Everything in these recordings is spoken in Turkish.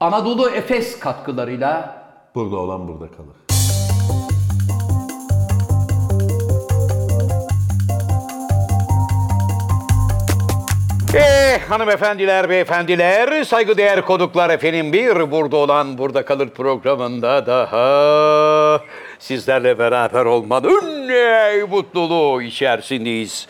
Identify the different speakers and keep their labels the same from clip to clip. Speaker 1: Anadolu Efes katkılarıyla
Speaker 2: Burada olan burada kalır.
Speaker 3: Eh hanımefendiler, beyefendiler, saygıdeğer konuklar efendim bir burada olan burada kalır programında daha sizlerle beraber olmanın ne mutluluğu içerisindeyiz.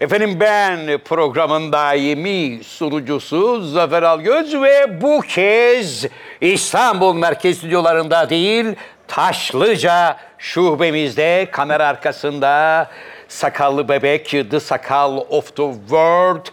Speaker 3: Efendim ben programın daimi sunucusu Zafer Algöz ve bu kez İstanbul Merkez Stüdyolarında değil Taşlıca şubemizde kamera arkasında sakallı bebek The Sakal of the World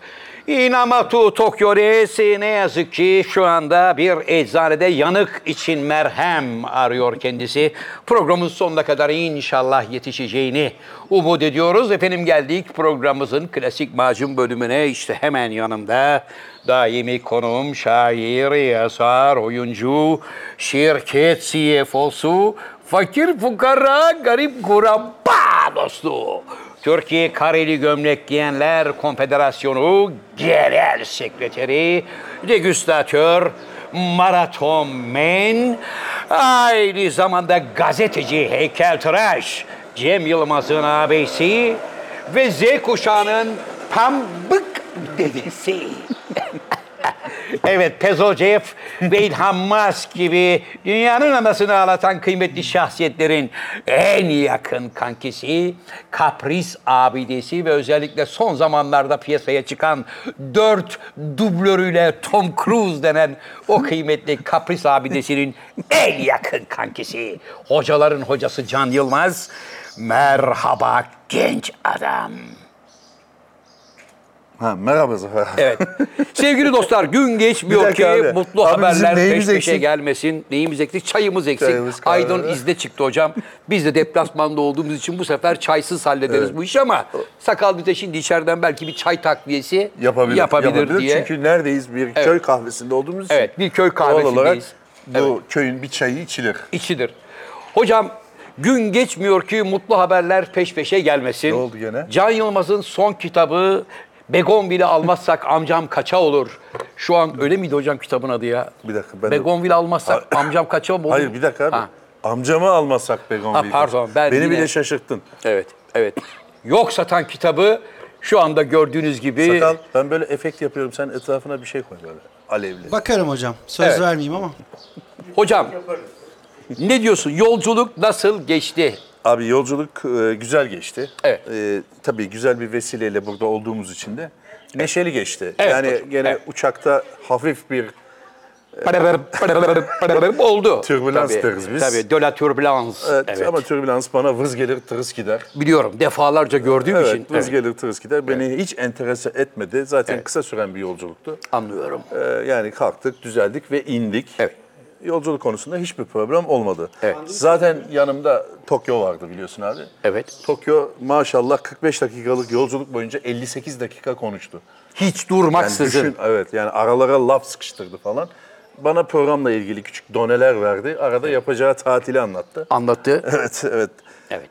Speaker 3: Inamatu Tokyo reisi ne yazık ki şu anda bir eczanede yanık için merhem arıyor kendisi. Programın sonuna kadar inşallah yetişeceğini umut ediyoruz. Efendim geldik programımızın klasik macun bölümüne işte hemen yanımda daimi konuğum şair, yazar, oyuncu, şirket CFO'su, fakir fukara, garip kurabba dostu. Türkiye Kareli Gömlek Giyenler Konfederasyonu Genel Sekreteri, degüstatör, maraton men, aynı zamanda gazeteci, heykeltıraş, Cem Yılmaz'ın ağabeysi ve Z kuşağının pambık dedesi. Evet, Pezocev ve İlhan Musk gibi dünyanın anasını ağlatan kıymetli şahsiyetlerin en yakın kankisi, kapris abidesi ve özellikle son zamanlarda piyasaya çıkan dört dublörüyle Tom Cruise denen o kıymetli kapris abidesinin en yakın kankisi, hocaların hocası Can Yılmaz, merhaba genç adam.
Speaker 4: Ha, merhaba Zafer.
Speaker 3: Evet. Sevgili dostlar gün
Speaker 4: Bir
Speaker 3: geçmiyor ki
Speaker 4: dakika abi.
Speaker 3: mutlu
Speaker 4: Abi
Speaker 3: haberler
Speaker 4: bizim
Speaker 3: peş
Speaker 4: neyimiz
Speaker 3: peşe
Speaker 4: eksik?
Speaker 3: gelmesin. Neyimiz eksik? Çayımız eksik.
Speaker 4: Çayımız, kahvemiz.
Speaker 3: Aydın izne çıktı hocam. Biz de deplasmanda olduğumuz için bu sefer çaysız hallederiz bu işi ama sakal bize şimdi içeriden belki bir çay takviyesi yapabilir,
Speaker 4: yapabilir,
Speaker 3: diye.
Speaker 4: Çünkü neredeyiz? Bir köy kahvesinde olduğumuz için.
Speaker 3: Evet, bir köy
Speaker 4: doğal
Speaker 3: kahvesindeyiz.
Speaker 4: olarak bu köyün bir çayı içilir.
Speaker 3: içidir. Hocam gün geçmiyor ki mutlu haberler peş peşe gelmesin.
Speaker 4: Ne oldu gene?
Speaker 3: Can Yılmaz'ın son kitabı Begonvil'i almazsak amcam kaça olur. Şu an öyle miydi hocam kitabın adı ya?
Speaker 4: Bir dakika, ben de-
Speaker 3: Begonvil'i almazsak amcam kaça olur.
Speaker 4: Hayır bir dakika abi.
Speaker 3: Ha,
Speaker 4: Amcamı almasak
Speaker 3: Ha,
Speaker 4: Begonvil'i.
Speaker 3: pardon, ben
Speaker 4: Beni
Speaker 3: yine-
Speaker 4: bile şaşırttın.
Speaker 3: evet, evet. Yok satan kitabı şu anda gördüğünüz gibi
Speaker 4: Sakal ben böyle efekt yapıyorum. Sen etrafına bir şey koy böyle. Alevli.
Speaker 5: Bakarım hocam. Söz
Speaker 3: Evet.
Speaker 5: vermeyeyim ama.
Speaker 3: hocam ne diyorsun? Yolculuk nasıl geçti?
Speaker 4: Abi yolculuk e, güzel geçti.
Speaker 3: Evet.
Speaker 4: E, tabii güzel bir vesileyle burada olduğumuz için de neşeli geçti.
Speaker 3: Evet,
Speaker 4: yani
Speaker 3: hocam,
Speaker 4: gene
Speaker 3: evet.
Speaker 4: uçakta hafif bir
Speaker 3: oldu.
Speaker 4: Türbülans
Speaker 3: Tabii,
Speaker 4: deriz biz.
Speaker 3: Tabii, de la turbulans.
Speaker 4: Evet,
Speaker 3: Evet.
Speaker 4: ama türbülans bana vız gelir tırıs gider.
Speaker 3: Biliyorum defalarca gördüğüm
Speaker 4: Evet,
Speaker 3: için.
Speaker 4: vız gelir tırıs gider. Beni hiç enterese etmedi. Zaten kısa süren bir yolculuktu.
Speaker 3: Anlıyorum.
Speaker 4: Ee, yani kalktık, düzeldik ve indik.
Speaker 3: Evet.
Speaker 4: Yolculuk konusunda hiçbir problem olmadı.
Speaker 3: Evet.
Speaker 4: Zaten yanımda Tokyo vardı biliyorsun abi.
Speaker 3: Evet.
Speaker 4: Tokyo maşallah 45 dakikalık yolculuk boyunca 58 dakika konuştu.
Speaker 3: Hiç
Speaker 4: Yani
Speaker 3: durmaksızın.
Speaker 4: düşün, evet yani aralara laf sıkıştırdı falan. Bana programla ilgili küçük doneler verdi. Arada yapacağı tatili anlattı.
Speaker 3: Anlattı.
Speaker 4: Evet, evet. Ee,
Speaker 3: Evet.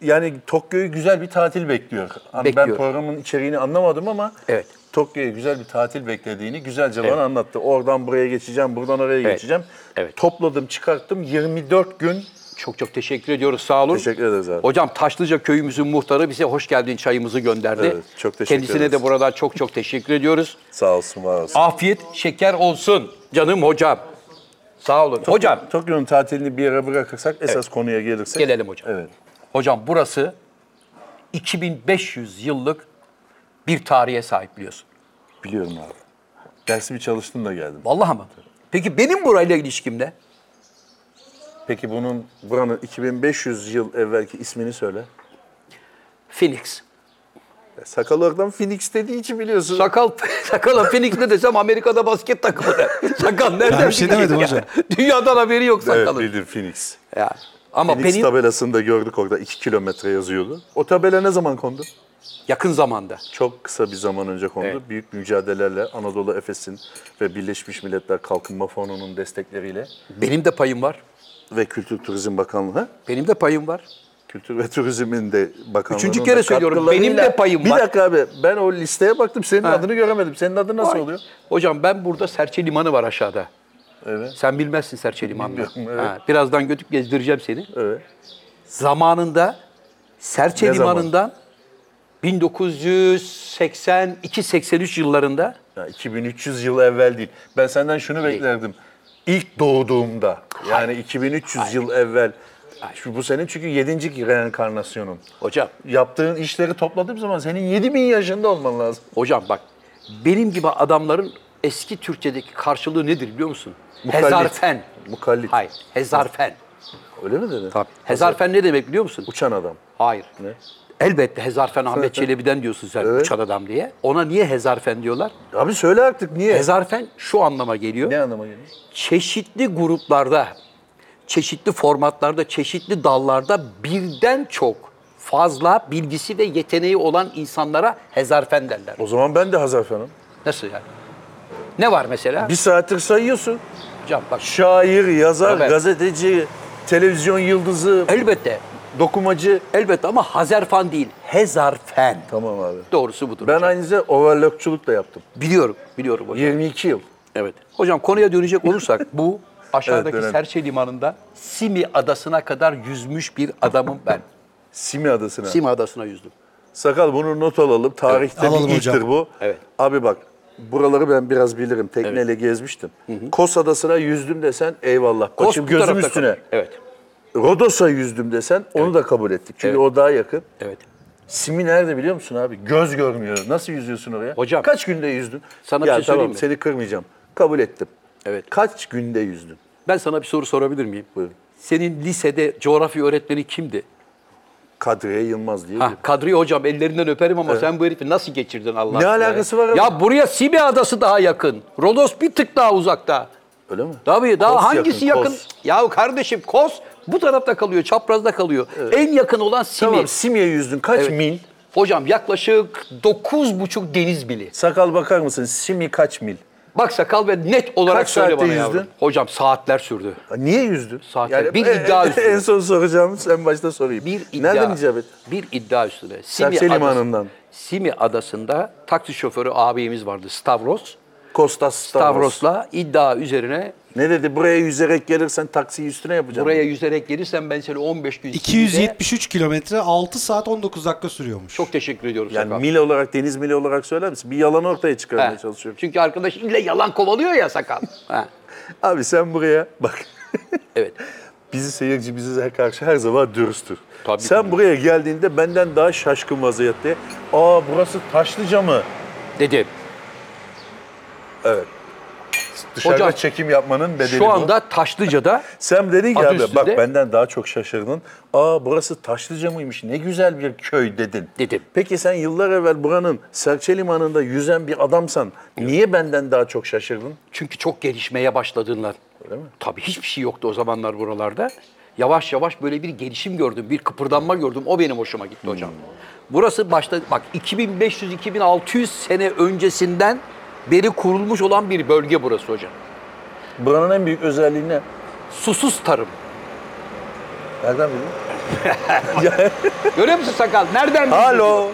Speaker 4: Yani Tokyo'yu güzel bir tatil bekliyor. Hani
Speaker 3: Bekliyor.
Speaker 4: Ben programın içeriğini anlamadım ama
Speaker 3: Evet.
Speaker 4: Tokyo'yu güzel bir tatil beklediğini güzelce
Speaker 3: Evet.
Speaker 4: bana anlattı. Oradan buraya geçeceğim, buradan oraya geçeceğim.
Speaker 3: Evet.
Speaker 4: Topladım, çıkarttım. 24 gün
Speaker 3: Çok çok teşekkür ediyoruz. Sağ olun.
Speaker 4: Teşekkür ederiz abi.
Speaker 3: Hocam Taşlıca köyümüzün muhtarı bize hoş geldin çayımızı gönderdi.
Speaker 4: Evet, çok teşekkür
Speaker 3: Kendisine de
Speaker 4: ederiz.
Speaker 3: buradan çok çok teşekkür ediyoruz.
Speaker 4: sağ olsun var olsun.
Speaker 3: Afiyet şeker olsun canım hocam. Sağ olun. Hocam
Speaker 4: Tokyo'nun tatilini bir yere bırakırsak esas konuya gelirsek.
Speaker 3: gelelim hocam.
Speaker 4: Evet.
Speaker 3: Hocam burası 2500 yıllık bir tarihe sahip biliyorsun.
Speaker 4: Biliyorum abi. Dersimi çalıştım da geldim.
Speaker 3: Vallahi mı? Peki benim burayla ilişkim ne?
Speaker 4: Peki bunun buranın 2500 yıl evvelki ismini söyle.
Speaker 3: Phoenix.
Speaker 4: Sakal oradan Phoenix dediği için biliyorsun.
Speaker 3: Sakal, sakala Phoenix ne desem Amerika'da basket takımı der. Sakal nereden
Speaker 5: Ben bir şey
Speaker 3: bilecek
Speaker 5: demedim
Speaker 3: ya?
Speaker 5: hocam.
Speaker 3: Dünyadan haberi yok
Speaker 4: evet
Speaker 3: sakalın.
Speaker 4: bildim Phoenix.
Speaker 3: ya. Ama
Speaker 4: Phoenix
Speaker 3: Phoenix
Speaker 4: tabelasını da gördük orada 2 kilometre yazıyordu. O tabela ne zaman kondu?
Speaker 3: yakın zamanda.
Speaker 4: Çok kısa bir zaman önce kondu.
Speaker 3: Evet.
Speaker 4: Büyük mücadelelerle Anadolu Efes'in ve Birleşmiş Milletler Kalkınma Fonu'nun destekleriyle
Speaker 3: Benim de payım var.
Speaker 4: ve Kültür Turizm Bakanlığı, ha?
Speaker 3: Benim de payım var.
Speaker 4: Kültür ve Turizm'in de bakanlığının
Speaker 3: Üçüncü kere
Speaker 4: da
Speaker 3: söylüyorum,
Speaker 4: katkılarıyla-
Speaker 3: benim de payım
Speaker 4: bir
Speaker 3: var.
Speaker 4: Bir dakika abi ben o listeye baktım senin
Speaker 3: Ha.
Speaker 4: adını göremedim. Senin adın nasıl
Speaker 3: Vay.
Speaker 4: oluyor?
Speaker 3: Hocam ben burada Serçe Limanı var aşağıda. Sen bilmezsin Serçeli Man'la. Ha, birazdan götüp gezdireceğim seni. Zamanında Serçe
Speaker 4: Ne zaman?
Speaker 3: Limanı'ndan 1982-83 yıllarında
Speaker 4: Ya 2300 yıl evvel değil. Ben senden şunu beklerdim. İlk doğduğumda yani 2300 yıl evvel. Şu, bu senin çünkü 7. reenkarnasyonun.
Speaker 3: hocam
Speaker 4: Yaptığın işleri topladığım zaman senin 7000 yaşında olman lazım.
Speaker 3: Hocam bak benim gibi adamların eski Türkçedeki karşılığı nedir biliyor musun?
Speaker 4: Mukallit.
Speaker 3: Hezarfen.
Speaker 4: Mukallit.
Speaker 3: Hayır, hezarfen.
Speaker 4: Öyle mi dedin?
Speaker 3: Hezarfen ne demek biliyor musun?
Speaker 4: Uçan adam.
Speaker 3: Hayır. Elbette hezarfen Ahmet Çelebi'den diyorsun sen uçan adam diye. Ona niye hezarfen diyorlar?
Speaker 4: Abi söyle artık niye?
Speaker 3: Hezarfen şu anlama geliyor.
Speaker 4: Ne anlama geliyor?
Speaker 3: Çeşitli gruplarda, çeşitli formatlarda, çeşitli dallarda birden çok fazla bilgisi ve yeteneği olan insanlara hezarfen derler.
Speaker 4: O zaman ben de Hazarfen'im.
Speaker 3: Nasıl yani? Ne var mesela?
Speaker 4: Bir saattir sayıyorsun.
Speaker 3: Hocam bak
Speaker 4: Şair, yazar,
Speaker 3: Evet.
Speaker 4: gazeteci, televizyon yıldızı,
Speaker 3: Elbette.
Speaker 4: dokumacı.
Speaker 3: Elbette ama Hazerfan değil. Hezarfen.
Speaker 4: Tamam abi.
Speaker 3: Doğrusu budur.
Speaker 4: Ben
Speaker 3: hocam.
Speaker 4: aynı zamanda overlockçuluk da yaptım.
Speaker 3: biliyorum. Biliyorum hocam.
Speaker 4: 22 yıl.
Speaker 3: Evet. Hocam konuya dönecek olursak bu aşağıdaki
Speaker 4: Evet, önemli.
Speaker 3: Serçe Limanı'nda Simi Adası'na kadar yüzmüş bir adamım ben.
Speaker 4: Simi Adası'na.
Speaker 3: Simi Adası'na yüzdüm.
Speaker 4: Sakal bunu not alalım. Tarihte
Speaker 2: Alalım
Speaker 4: bir
Speaker 2: hocam.
Speaker 4: ilktir bu.
Speaker 3: Evet.
Speaker 4: Abi bak buraları ben biraz bilirim. Tekneyle gezmiştim. Kos Adası'na yüzdüm desen eyvallah. Koçum
Speaker 3: Kos bu
Speaker 4: gözüm
Speaker 3: tarafta
Speaker 4: üstüne.
Speaker 3: kalır. Evet.
Speaker 4: Rodos'a yüzdüm desen onu da kabul ettik. Çünkü o daha yakın.
Speaker 3: Evet.
Speaker 4: Simi nerede biliyor musun abi? Göz görmüyor. Nasıl yüzüyorsun oraya?
Speaker 3: Hocam.
Speaker 4: Kaç günde yüzdün?
Speaker 3: Sana bir
Speaker 4: ya,
Speaker 3: şey söyleyeyim
Speaker 4: tamam,
Speaker 3: mi?
Speaker 4: seni kırmayacağım. Kabul ettim.
Speaker 3: Evet.
Speaker 4: Kaç günde yüzdün?
Speaker 3: Ben sana bir soru sorabilir miyim?
Speaker 4: Buyurun.
Speaker 3: Senin lisede coğrafya öğretmeni kimdi?
Speaker 4: Kadriye Yılmaz diye.
Speaker 3: Ha,
Speaker 4: bir-
Speaker 3: Kadriye hocam ellerinden öperim ama sen bu herifi nasıl geçirdin Allah
Speaker 4: Ne
Speaker 3: aşkına
Speaker 4: alakası
Speaker 3: ya?
Speaker 4: var abi?
Speaker 3: Ya buraya Simi Adası daha yakın. Rodos bir tık daha uzakta.
Speaker 4: Öyle mi?
Speaker 3: Tabii daha
Speaker 4: Kos
Speaker 3: hangisi yakın?
Speaker 4: Kos.
Speaker 3: Ya kardeşim Kos bu tarafta kalıyor, çaprazda kalıyor. En yakın olan Simi.
Speaker 4: Tamam Simi'ye yüzdün. Kaç
Speaker 3: Evet.
Speaker 4: mil?
Speaker 3: Hocam yaklaşık 9,5 deniz mili.
Speaker 4: Sakal bakar mısın? Simi kaç mil?
Speaker 3: Bak sakal ve net olarak
Speaker 4: Kaç
Speaker 3: söyle
Speaker 4: saatte
Speaker 3: bana
Speaker 4: yüzdün?
Speaker 3: yavrum. Hocam saatler sürdü.
Speaker 4: Ha, Niye yüzdün?
Speaker 3: Saatler. Bir iddia üstüne.
Speaker 4: En son soracağımız en başta sorayım.
Speaker 3: Bir iddia.
Speaker 4: Nereden icap et?
Speaker 3: Bir iddia üstüne.
Speaker 4: Serçe Limanı'ndan.
Speaker 3: Simi adasında taksi şoförü abimiz vardı Stavros.
Speaker 4: Kostas Stavros.
Speaker 3: Stavros'la iddia üzerine
Speaker 4: Ne dedi? Buraya yüzerek gelirsen taksiyi üstüne yapacağım.
Speaker 3: buraya yüzerek gelirsen ben seni 15 gün içinde-
Speaker 2: 273 kilometre 6 saat 19 dakika sürüyormuş.
Speaker 3: Çok teşekkür ediyorum
Speaker 4: Yani
Speaker 3: sakal.
Speaker 4: mil olarak, deniz mili olarak söyler misin? Bir yalan ortaya çıkarmaya
Speaker 3: He.
Speaker 4: çalışıyorum.
Speaker 3: Çünkü arkadaş illa yalan kovalıyor ya sakal. Ha.
Speaker 4: Abi sen buraya bak.
Speaker 3: Evet.
Speaker 4: Bizi seyirci bize karşı her zaman dürüsttür.
Speaker 3: Tabii
Speaker 4: sen
Speaker 3: ki.
Speaker 4: buraya geldiğinde benden daha şaşkın vaziyette. Aa burası Taşlıca mı?
Speaker 3: Dedi.
Speaker 4: Dışarıda
Speaker 3: Hocam,
Speaker 4: çekim yapmanın bedeli
Speaker 3: Şu
Speaker 4: bu.
Speaker 3: anda Taşlıca'da
Speaker 4: Sen dedin ki
Speaker 3: Adı
Speaker 4: abi
Speaker 3: üstünde-
Speaker 4: bak benden daha çok şaşırdın. Aa burası Taşlıca mıymış ne güzel bir köy dedin.
Speaker 3: Dedim.
Speaker 4: Peki sen yıllar evvel buranın Serçe Limanı'nda yüzen bir adamsan niye benden daha çok şaşırdın?
Speaker 3: Çünkü çok gelişmeye başladığında. Öyle mi? Tabii hiçbir şey yoktu o zamanlar buralarda. Yavaş yavaş böyle bir gelişim gördüm, bir kıpırdanma gördüm. O benim hoşuma
Speaker 4: Hmm.
Speaker 3: gitti hocam. Burası başta bak 2500-2600 sene öncesinden beri kurulmuş olan bir bölge burası hocam.
Speaker 4: Buranın en büyük özelliği ne?
Speaker 3: Susuz tarım.
Speaker 4: Nereden bildin?
Speaker 3: Görüyor musun sakal? Nereden bildin?
Speaker 4: Alo.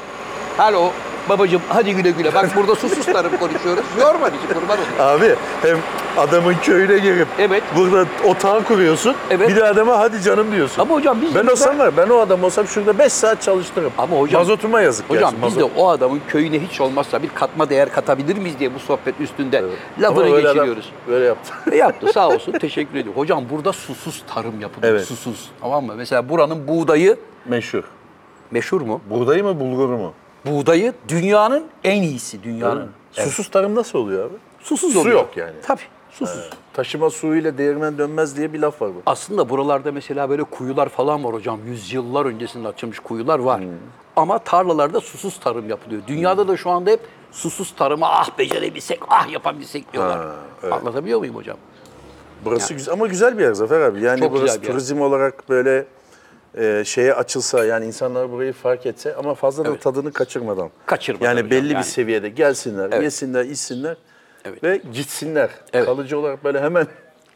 Speaker 3: Alo. Babacığım hadi güle güle. Bak burada susuz tarım konuşuyoruz. Yorma bizi kurban olayım.
Speaker 4: Abi hem adamın köyüne girip
Speaker 3: Evet.
Speaker 4: burada otağı kuruyorsun.
Speaker 3: Evet.
Speaker 4: Bir de adama hadi canım diyorsun.
Speaker 3: Ama hocam biz
Speaker 4: ben
Speaker 3: burada-
Speaker 4: olsam var ben o adam olsam şurada 5 saat çalıştırırım.
Speaker 3: Ama hocam-
Speaker 4: Mazotuma yazık
Speaker 3: Hocam
Speaker 4: gerçi,
Speaker 3: biz de
Speaker 4: mazot.
Speaker 3: o adamın köyüne hiç olmazsa bir katma değer katabilir miyiz diye bu sohbet üstünde lafını
Speaker 4: Ama öyle adam
Speaker 3: geçiriyoruz.
Speaker 4: böyle yaptı.
Speaker 3: Ne yaptı sağ olsun teşekkür ediyorum. Hocam burada susuz tarım yapılıyor.
Speaker 4: Evet.
Speaker 3: Susuz tamam mı? Mesela buranın buğdayı
Speaker 4: Meşhur.
Speaker 3: meşhur mu?
Speaker 4: Buğdayı mı bulgur mu?
Speaker 3: Buğdayı dünyanın en iyisi
Speaker 4: Yani
Speaker 3: dünyanın.
Speaker 4: susuz tarım nasıl oluyor abi?
Speaker 3: Susuz
Speaker 4: Su
Speaker 3: oluyor.
Speaker 4: yok yani.
Speaker 3: Tabii susuz.
Speaker 4: Taşıma suyuyla değirmen dönmez diye bir laf var bu.
Speaker 3: Aslında buralarda mesela böyle kuyular falan var hocam. Yüzyıllar öncesinde açılmış kuyular var. Ama tarlalarda susuz tarım yapılıyor. Dünyada da şu anda hep susuz tarıma ah becerebilsek, ah yapabilsek diyorlar. Anlatabiliyor muyum hocam?
Speaker 4: Burası güzel ama güzel bir yer Zafer abi. Yani
Speaker 3: Çok güzel
Speaker 4: burası
Speaker 3: bir yer.
Speaker 4: turizm olarak böyle e, şeye açılsa yani insanlar burayı fark etse ama fazla da tadını kaçırmadan.
Speaker 3: Kaçırmadan hocam,
Speaker 4: Yani belli
Speaker 3: yani.
Speaker 4: bir seviyede gelsinler, yesinler, içsinler
Speaker 3: Evet.
Speaker 4: ve gitsinler.
Speaker 3: Evet.
Speaker 4: Kalıcı olarak böyle hemen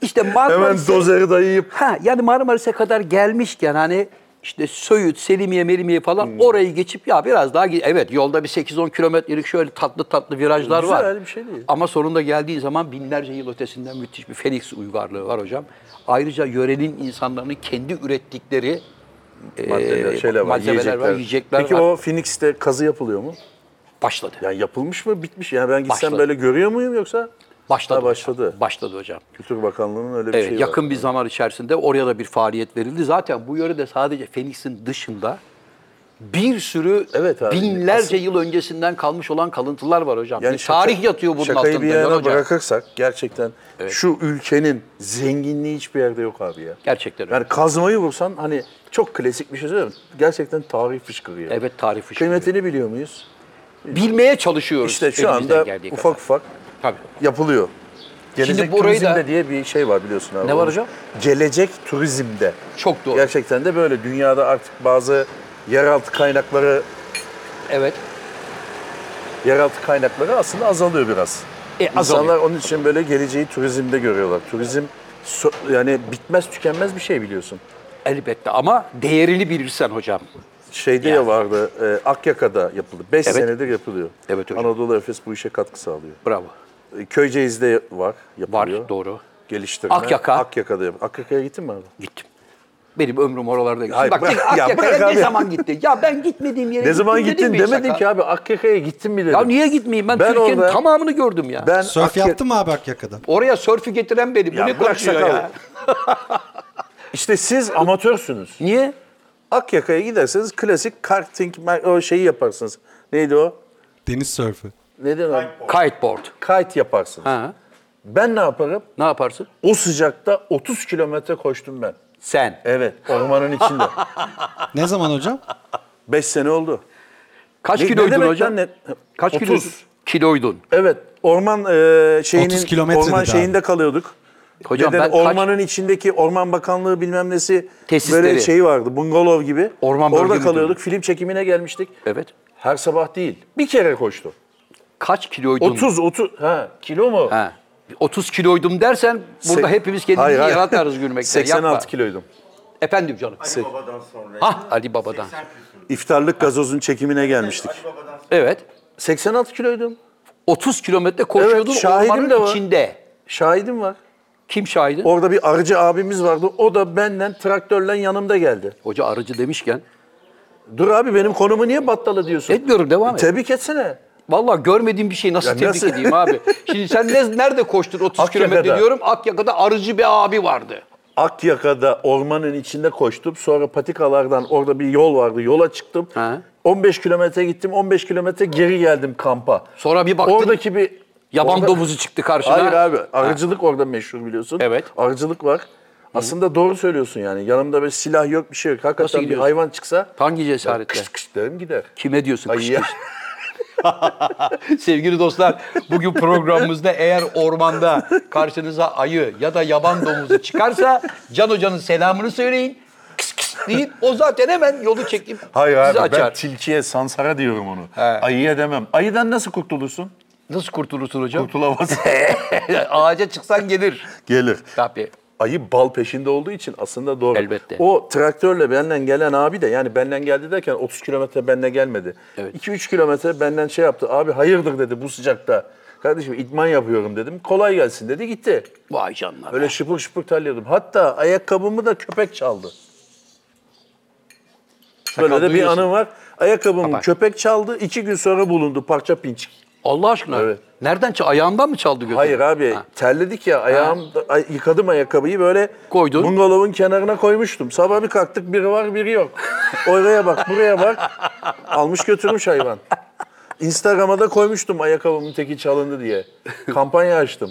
Speaker 3: İşte
Speaker 4: hemen
Speaker 3: Marmaris'e,
Speaker 4: dozeri dayayıp
Speaker 3: ha, yani Marmaris'e kadar gelmişken hani işte Söğüt, Selimiye, Melimiye falan
Speaker 4: Hmm.
Speaker 3: orayı geçip ya biraz daha gi- evet yolda bir 8-10 kilometrelik şöyle tatlı tatlı virajlar
Speaker 4: Güzel,
Speaker 3: var.
Speaker 4: bir şey değil.
Speaker 3: Ama sonunda geldiği zaman binlerce yıl ötesinden müthiş bir Feniks uygarlığı var hocam. Ayrıca yörenin insanların kendi ürettikleri e,
Speaker 4: Maddeler, şeyler var,
Speaker 3: malzemeler
Speaker 4: yiyecekler.
Speaker 3: var, yiyecekler
Speaker 4: Peki
Speaker 3: var.
Speaker 4: o Phoenix'te kazı yapılıyor mu?
Speaker 3: Başladı.
Speaker 4: Yani yapılmış mı, bitmiş? Yani ben gitsem
Speaker 3: Başladı.
Speaker 4: böyle görüyor muyum yoksa?
Speaker 3: Başladı.
Speaker 4: Ha, başladı.
Speaker 3: Hocam. Başladı hocam.
Speaker 4: Kültür Bakanlığı'nın öyle bir
Speaker 3: Evet,
Speaker 4: şeyi Şey var.
Speaker 3: yakın bir zaman içerisinde oraya da bir faaliyet verildi. Zaten bu yörede sadece Fenix'in dışında bir sürü
Speaker 4: Evet abi,
Speaker 3: binlerce yıl öncesinden kalmış olan kalıntılar var hocam. bir
Speaker 4: şaka-
Speaker 3: tarih yatıyor bunun
Speaker 4: şakayı
Speaker 3: altında.
Speaker 4: bir yana
Speaker 3: Can hocam.
Speaker 4: bırakırsak gerçekten şu ülkenin zenginliği hiçbir yerde yok abi ya.
Speaker 3: Gerçekten öyle.
Speaker 4: Yani kazmayı vursan hani çok klasik bir şey söylüyorum. Gerçekten tarih fışkırıyor.
Speaker 3: Evet tarih fışkırıyor.
Speaker 4: Kıymetini biliyor muyuz?
Speaker 3: Bilmeye çalışıyoruz.
Speaker 4: İşte şu
Speaker 3: elimizden
Speaker 4: anda
Speaker 3: geldiği
Speaker 4: ufak
Speaker 3: kadar.
Speaker 4: ufak
Speaker 3: Tabii.
Speaker 4: yapılıyor. Gelecek
Speaker 3: burayı
Speaker 4: turizmde
Speaker 3: da-
Speaker 4: diye bir şey var biliyorsun abi.
Speaker 3: Ne var hocam?
Speaker 4: Gelecek turizmde.
Speaker 3: Çok doğru.
Speaker 4: Gerçekten de böyle dünyada artık bazı yeraltı kaynakları
Speaker 3: Evet.
Speaker 4: yeraltı kaynakları aslında azalıyor biraz.
Speaker 3: E,
Speaker 4: İnsanlar
Speaker 3: azalıyor.
Speaker 4: onun için böyle geleceği turizmde görüyorlar. Turizm so- yani bitmez tükenmez bir şey biliyorsun.
Speaker 3: Elbette ama değerini bilirsen hocam.
Speaker 4: Şeyde ya vardı, e, Akyaka'da yapıldı. 5
Speaker 3: Evet.
Speaker 4: senedir yapılıyor.
Speaker 3: Evet hocam.
Speaker 4: Anadolu Efes bu işe katkı sağlıyor.
Speaker 3: Bravo.
Speaker 4: E, Köyceğiz'de var,
Speaker 3: Var
Speaker 4: yapılıyor.
Speaker 3: doğru.
Speaker 4: Geliştirme.
Speaker 3: Akyaka.
Speaker 4: Akyaka'da yap- Akyaka'ya gittin mi abi?
Speaker 3: Gittim. Benim ömrüm oralarda geçti.
Speaker 4: Hayır,
Speaker 3: Bak
Speaker 4: bırak-
Speaker 3: bırak,
Speaker 4: ya bırak
Speaker 3: Akyaka'ya
Speaker 4: abi.
Speaker 3: ne zaman gittin? Ya ben gitmediğim yere
Speaker 4: Ne zaman
Speaker 3: gittim dedim
Speaker 4: gittin
Speaker 3: mi
Speaker 4: demedin
Speaker 3: Saka?
Speaker 4: ki abi Akyaka'ya gittin mi dedim.
Speaker 3: Ya niye gitmeyeyim? Ben,
Speaker 4: Ben
Speaker 3: Türkiye'nin
Speaker 4: orada-
Speaker 3: tamamını gördüm ya.
Speaker 4: Ben
Speaker 2: Sörf
Speaker 4: Akya-
Speaker 2: yaptın mı abi Akyaka'da?
Speaker 3: Oraya sörfü getiren benim.
Speaker 4: Ya
Speaker 3: Bu ne
Speaker 4: bırak
Speaker 3: konuşuyor
Speaker 4: sakal.
Speaker 3: ya?
Speaker 4: İşte siz amatörsünüz.
Speaker 3: Niye?
Speaker 4: Akyaka'ya giderseniz klasik karting mer- o şeyi yaparsınız. Neydi o?
Speaker 2: Deniz sörfü.
Speaker 4: Neden o?
Speaker 3: Kiteboard.
Speaker 4: Kite yaparsınız.
Speaker 3: Ha.
Speaker 4: Ben ne yaparım?
Speaker 3: Ne yaparsın?
Speaker 4: O sıcakta 30 kilometre koştum ben.
Speaker 3: Sen.
Speaker 4: Evet, ormanın içinde.
Speaker 2: Ne zaman hocam?
Speaker 4: 5 sene oldu.
Speaker 3: Kaç
Speaker 4: Ne- ne
Speaker 3: kiloydun
Speaker 4: demek
Speaker 3: hocam?
Speaker 4: lan ne-
Speaker 3: Kaç
Speaker 4: 30.
Speaker 3: kiloydun? Kiloydun.
Speaker 4: Evet, orman e, şeyinin
Speaker 2: 30 kilometre
Speaker 4: orman
Speaker 2: dedi
Speaker 4: şeyinde kalıyorduk.
Speaker 3: Hocam
Speaker 4: Neden?
Speaker 3: ben kaç-
Speaker 4: ormanın içindeki Orman Bakanlığı bilmem nesi
Speaker 3: Tesisleri.
Speaker 4: böyle şeyi vardı. Bungalov gibi.
Speaker 3: Orman bölge
Speaker 4: Orada
Speaker 3: müdürlüğü.
Speaker 4: kalıyorduk. Film çekimine gelmiştik.
Speaker 3: Evet.
Speaker 4: Her sabah değil. Bir kere koştum.
Speaker 3: Kaç kiloydun?
Speaker 4: 30 30 ha kilo mu?
Speaker 3: Ha. 30 kiloydum dersen burada
Speaker 4: Se-
Speaker 3: hepimiz kendimizi
Speaker 4: Hayır, hayır.
Speaker 3: yaratarız gülmekten.
Speaker 4: 86
Speaker 3: Yapma.
Speaker 4: kiloydum.
Speaker 3: Efendim canım.
Speaker 4: Se-
Speaker 3: Hah Ali Baba'dan.
Speaker 4: İftarlık gazozun çekimine gelmiştik.
Speaker 3: Evet.
Speaker 4: 86 kiloydum.
Speaker 3: 30 kilometre koşuyordun
Speaker 4: şahidim
Speaker 3: ormanın
Speaker 4: de var.
Speaker 3: içinde.
Speaker 4: Şahidim var.
Speaker 3: Kim şahidin?
Speaker 4: Orada bir arıcı abimiz vardı. O da benden traktörle yanımda geldi.
Speaker 3: Hoca arıcı demişken.
Speaker 4: Dur abi benim konumu niye battalı diyorsun?
Speaker 3: Etmiyorum devam et.
Speaker 4: Tebrik etsene.
Speaker 3: Vallahi görmediğim bir şeyi nasıl
Speaker 4: Ya
Speaker 3: tebrik
Speaker 4: nasıl?
Speaker 3: edeyim abi? Şimdi sen ne, nerede koştun 30
Speaker 4: Akyaka'da.
Speaker 3: kilometre diyorum. Akyaka'da arıcı bir abi vardı.
Speaker 4: Akyaka'da ormanın içinde koştum. Sonra patikalardan orada bir yol vardı. Yola çıktım.
Speaker 3: Ha.
Speaker 4: 15 kilometre gittim. 15 kilometre geri geldim kampa.
Speaker 3: Sonra bir baktın
Speaker 4: Oradaki bir
Speaker 3: yaban
Speaker 4: orada-
Speaker 3: domuzu çıktı karşına.
Speaker 4: Hayır abi. Arıcılık orada meşhur biliyorsun.
Speaker 3: Evet.
Speaker 4: Arıcılık var. Aslında doğru söylüyorsun yani. Yanımda böyle silah yok bir şey yok.
Speaker 3: Nasıl
Speaker 4: Hakikaten bir
Speaker 3: gidiyorsun?
Speaker 4: hayvan çıksa
Speaker 3: Hangi cesaretle?
Speaker 4: kış kış derim gider.
Speaker 3: Kime diyorsun
Speaker 4: Ay
Speaker 3: kış
Speaker 4: ya.
Speaker 3: kış? Sevgili dostlar, bugün programımızda eğer ormanda karşınıza ayı ya da yaban domuzu çıkarsa Can Hoca'nın selamını söyleyin. Kıs kıs deyip o zaten hemen yolu çekip
Speaker 4: Hayır
Speaker 3: sizi
Speaker 4: abi ben
Speaker 3: açar.
Speaker 4: tilkiye, sansara diyorum onu. Ayıya demem. Ayıdan nasıl kurtulursun?
Speaker 3: Nasıl kurtulursun hocam?
Speaker 4: Kurtulamazsın.
Speaker 3: Ağaca çıksan gelir.
Speaker 4: Gelir.
Speaker 3: Tabii.
Speaker 4: Ayı bal peşinde olduğu için aslında doğru.
Speaker 3: Elbette.
Speaker 4: O traktörle benden gelen abi de yani benden geldi derken 30 kilometre benden gelmedi.
Speaker 3: Evet.
Speaker 4: 2-3 kilometre benden şey yaptı. Abi hayırdır dedi bu sıcakta. Kardeşim idman yapıyorum dedim. Kolay gelsin dedi gitti.
Speaker 3: Vay canına.
Speaker 4: Öyle şıpır şıpır terliyordum. Hatta ayakkabımı da köpek çaldı. Böyle de bir
Speaker 3: duyuyorsun.
Speaker 4: anım var. Ayakkabımı
Speaker 3: Bak.
Speaker 4: köpek çaldı. iki gün sonra bulundu parça pinçik.
Speaker 3: Allah aşkına.
Speaker 4: Evet.
Speaker 3: Nereden çal? Ayağından mı çaldı götürdü?
Speaker 4: Hayır abi
Speaker 3: Ha.
Speaker 4: terledik ya ayağım ay- yıkadım ayakkabıyı böyle
Speaker 3: Koydun.
Speaker 4: bungalovun kenarına koymuştum. Sabah bir kalktık biri var biri yok. Oraya bak buraya bak almış götürmüş hayvan. Instagram'a da koymuştum ayakkabımın teki çalındı diye. Kampanya açtım.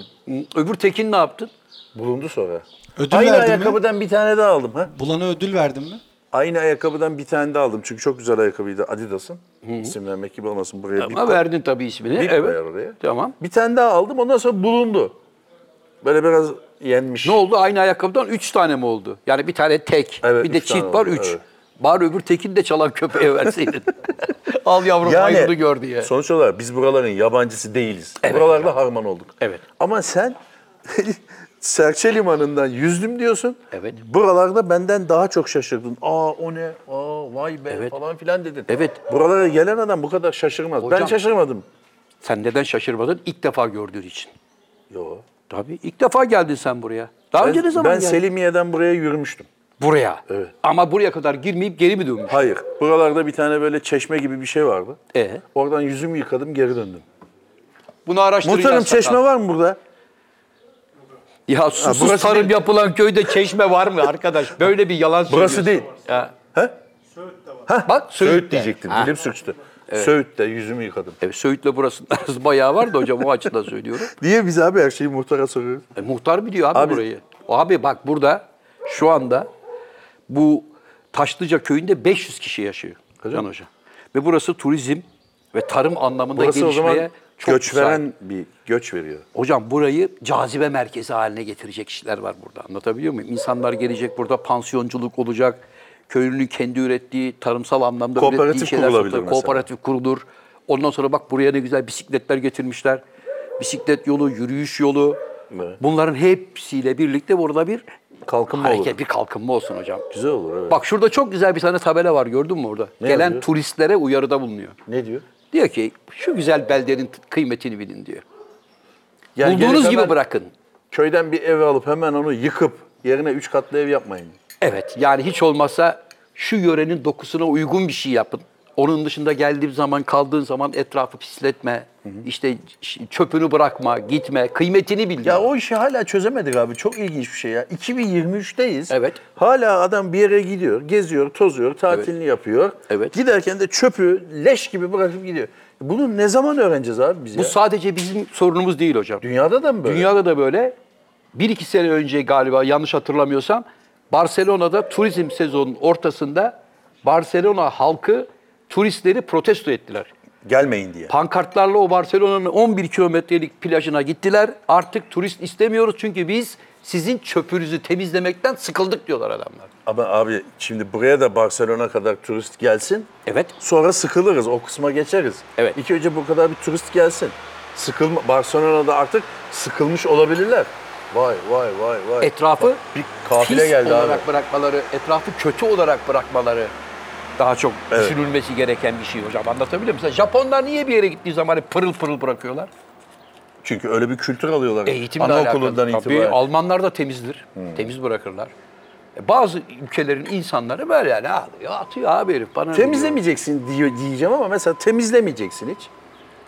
Speaker 3: Öbür Tekin ne yaptın?
Speaker 4: Bulundu sonra.
Speaker 2: Ödül
Speaker 4: Aynı
Speaker 2: verdin mi?
Speaker 4: ayakkabıdan bir tane daha aldım. Ha?
Speaker 2: Bulana ödül verdin mi?
Speaker 4: Aynı ayakkabıdan bir tane daha aldım. Çünkü çok güzel ayakkabıydı Adidas'ın. İsim vermek gibi olmasın buraya bir
Speaker 3: Ama verdin tabii ismini.
Speaker 4: Bir
Speaker 3: evet.
Speaker 4: koyar oraya.
Speaker 3: Tamam.
Speaker 4: Bir tane daha aldım ondan sonra bulundu. Böyle biraz yenmiş.
Speaker 3: Ne oldu? Aynı ayakkabıdan üç tane mi oldu? Yani bir tane tek,
Speaker 4: Evet,
Speaker 3: bir de
Speaker 4: üç tane
Speaker 3: çift var
Speaker 4: oldu,
Speaker 3: üç.
Speaker 4: evet.
Speaker 3: Bari öbür Tekin de çalan köpeğe verseydin. Al yavrum ayrıldı gör diye.
Speaker 4: Sonuç olarak biz buraların yabancısı değiliz. Buralarda harman olduk.
Speaker 3: Evet.
Speaker 4: Ama sen Serçe Limanı'ndan yüzdüm diyorsun.
Speaker 3: Evet.
Speaker 4: Buralarda benden daha çok şaşırdın. Aa o ne? Aa vay be
Speaker 3: Evet.
Speaker 4: falan filan dedin.
Speaker 3: Evet.
Speaker 4: Buralara gelen adam bu kadar şaşırmaz. ben
Speaker 3: Hocam-
Speaker 4: şaşırmadım.
Speaker 3: Sen neden şaşırmadın? İlk defa gördüğün için.
Speaker 4: Yo.
Speaker 3: Tabii ilk defa geldin sen buraya. Daha önce ne
Speaker 4: Ben,
Speaker 3: zaman
Speaker 4: ben
Speaker 3: geldin?
Speaker 4: Selimiye'den buraya yürümüştüm.
Speaker 3: Buraya.
Speaker 4: Evet.
Speaker 3: Ama buraya kadar girmeyip geri mi dönmüş?
Speaker 4: Hayır. Buralarda bir tane böyle çeşme gibi bir şey vardı.
Speaker 3: Ee?
Speaker 4: Oradan yüzümü yıkadım geri döndüm.
Speaker 5: Bunu araştıracağız.
Speaker 4: Muhtarım
Speaker 5: sakal.
Speaker 4: çeşme var mı burada?
Speaker 3: Ya susuz
Speaker 4: burası
Speaker 3: tarım
Speaker 4: değil.
Speaker 3: yapılan köyde çeşme var mı arkadaş? Böyle bir yalan
Speaker 4: Burası
Speaker 3: söylüyorsun.
Speaker 4: değil.
Speaker 3: Ya.
Speaker 4: Bak Söğüt,
Speaker 3: Söğüt'te.
Speaker 4: diyecektim. Dilim sürçtü. Söğüt'te yüzümü yıkadım.
Speaker 3: E, Söğüt'le burasının arası bayağı var da hocam o açıdan söylüyorum.
Speaker 4: Niye biz abi her şeyi muhtara soruyoruz?
Speaker 3: E, muhtar biliyor abi,
Speaker 4: Abi-
Speaker 3: burayı. Abi bak burada şu anda bu Taşlıca köyünde 500 kişi yaşıyor. Can Hoca. Ve burası turizm ve tarım anlamında
Speaker 4: Burası o
Speaker 3: gelişmeye
Speaker 4: zaman
Speaker 3: çok
Speaker 4: göç
Speaker 3: müsait.
Speaker 4: veren bir göç veriyor.
Speaker 3: Hocam burayı cazibe merkezi haline getirecek işler var burada. Anlatabiliyor muyum? İnsanlar gelecek burada pansiyonculuk olacak. Köylünün kendi ürettiği tarımsal anlamda
Speaker 4: Kooperatif
Speaker 3: ürettiği şeyler
Speaker 4: kurulabilir
Speaker 3: satılır.
Speaker 4: mesela.
Speaker 3: Kooperatif kurulur. Ondan sonra bak buraya ne güzel bisikletler getirmişler. Bisiklet yolu, yürüyüş yolu.
Speaker 4: Evet.
Speaker 3: Bunların hepsiyle birlikte burada bir
Speaker 4: Kalkınma
Speaker 3: hareket,
Speaker 4: olur.
Speaker 3: bir kalkınma olsun hocam.
Speaker 4: Güzel olur evet.
Speaker 3: Bak şurada çok güzel bir tane tabela var gördün mü orada?
Speaker 4: Ne
Speaker 3: Gelen
Speaker 4: yazıyor?
Speaker 3: turistlere uyarıda bulunuyor.
Speaker 4: Ne diyor?
Speaker 3: Diyor ki şu güzel beldenin kıymetini bilin diyor.
Speaker 4: Yani
Speaker 3: Bulduğunuz
Speaker 4: gelip
Speaker 3: gibi
Speaker 4: hemen
Speaker 3: bırakın.
Speaker 4: Köyden bir ev alıp hemen onu yıkıp yerine üç katlı ev yapmayın.
Speaker 3: Evet yani hiç olmazsa şu yörenin dokusuna uygun bir şey yapın. Onun dışında geldiğim zaman, kaldığın zaman etrafı pisletme, işte ş- çöpünü bırakma, gitme, kıymetini bil.
Speaker 4: Ya
Speaker 3: diyor.
Speaker 4: o işi hala çözemedik abi. Çok ilginç bir şey ya. 2023'teyiz.
Speaker 3: Evet.
Speaker 4: Hala adam bir yere gidiyor, geziyor, tozuyor, tatilini yapıyor.
Speaker 3: Evet.
Speaker 4: Giderken de çöpü leş gibi bırakıp gidiyor. Bunu ne zaman öğreneceğiz abi biz
Speaker 3: Bu
Speaker 4: ya?
Speaker 3: sadece bizim sorunumuz değil hocam.
Speaker 4: Dünyada da mı böyle?
Speaker 3: Dünyada da böyle. Bir iki sene önce galiba yanlış hatırlamıyorsam Barcelona'da turizm sezonunun ortasında Barcelona halkı turistleri protesto ettiler.
Speaker 4: Gelmeyin diye.
Speaker 3: Pankartlarla o Barcelona'nın 11 kilometrelik plajına gittiler. Artık turist istemiyoruz çünkü biz sizin çöpünüzü temizlemekten sıkıldık diyorlar adamlar.
Speaker 4: Ama abi şimdi buraya da Barcelona kadar turist gelsin.
Speaker 3: Evet.
Speaker 4: Sonra sıkılırız. O kısma geçeriz.
Speaker 3: Evet.
Speaker 4: İlk önce bu kadar bir turist gelsin. Sıkılma, Barcelona'da artık sıkılmış olabilirler. Vay vay vay vay.
Speaker 3: Etrafı
Speaker 4: Bak, bir kafile
Speaker 3: pis
Speaker 4: geldi abi.
Speaker 3: olarak bırakmaları, etrafı kötü olarak bırakmaları daha çok
Speaker 4: Evet.
Speaker 3: düşünülmesi gereken bir şey hocam. Anlatabiliyor muyum? Mesela Japonlar niye bir yere gittiği zaman hep pırıl pırıl bırakıyorlar?
Speaker 4: Çünkü öyle bir kültür alıyorlar.
Speaker 3: Eğitimle
Speaker 4: Anaokulundan
Speaker 3: alakalı. Tabii
Speaker 4: itibaren. Hmm.
Speaker 3: Almanlar da temizdir. Temiz bırakırlar. E, Bazı ülkelerin insanları böyle yani alıyor, atıyor abi herif bana. ne diyor?
Speaker 4: Temizlemeyeceksin diyor diyeceğim ama mesela temizlemeyeceksin hiç.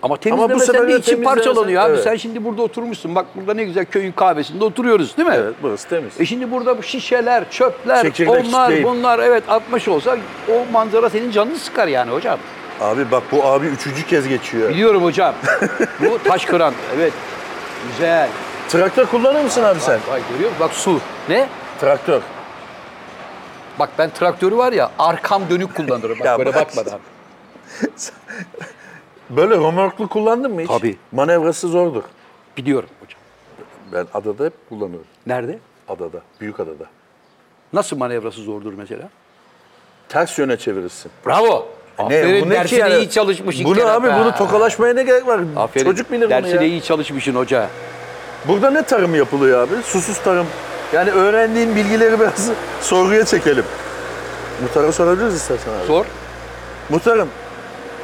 Speaker 3: Ama
Speaker 4: Ama bu
Speaker 3: temizlemesen
Speaker 4: sefer
Speaker 3: de
Speaker 4: de
Speaker 3: içi
Speaker 4: temizlemesen-
Speaker 3: parçalanıyor abi.
Speaker 4: Evet.
Speaker 3: Sen şimdi burada oturmuşsun. Bak burada ne güzel köyün kahvesinde oturuyoruz değil mi?
Speaker 4: Evet burası temiz.
Speaker 3: E şimdi burada bu şişeler, çöpler,
Speaker 4: Çekirdek
Speaker 3: onlar,
Speaker 4: çitleyip.
Speaker 3: bunlar evet atmış olsa o manzara senin canını sıkar yani hocam.
Speaker 4: Abi bak bu abi üçüncü kez geçiyor.
Speaker 3: Biliyorum hocam. bu taş kıran. Evet. Güzel.
Speaker 4: Traktör kullanır mısın abi sen?
Speaker 3: Vay görüyor musun? Bak su. Ne?
Speaker 4: Traktör.
Speaker 3: Bak ben traktörü var ya arkam dönük kullanırım. Bak
Speaker 4: Ya
Speaker 3: böyle
Speaker 4: bak.
Speaker 3: bakmadan.
Speaker 4: Böyle römorklu kullandın mı hiç?
Speaker 3: Tabii.
Speaker 4: Manevrası zordur.
Speaker 3: Biliyorum hocam.
Speaker 4: Ben adada hep kullanırım.
Speaker 3: Nerede?
Speaker 4: Adada, büyük adada.
Speaker 3: Nasıl manevrası zordur mesela?
Speaker 4: Ters yöne çevirirsin.
Speaker 3: Bravo. Aferin,
Speaker 4: bu
Speaker 3: dersine iyi çalışmış. ilk
Speaker 4: Bunu
Speaker 3: kere.
Speaker 4: abi bunu
Speaker 3: Ha.
Speaker 4: tokalaşmaya ne gerek var?
Speaker 3: Aferin.
Speaker 4: Çocuk bilir bunu
Speaker 3: Dersine
Speaker 4: ya.
Speaker 3: iyi çalışmışsın hoca.
Speaker 4: Burada ne tarım yapılıyor abi? Susuz tarım. Yani öğrendiğin bilgileri biraz sorguya çekelim. Muhtara sorabiliriz istersen abi.
Speaker 3: Sor.
Speaker 4: Muhtarım,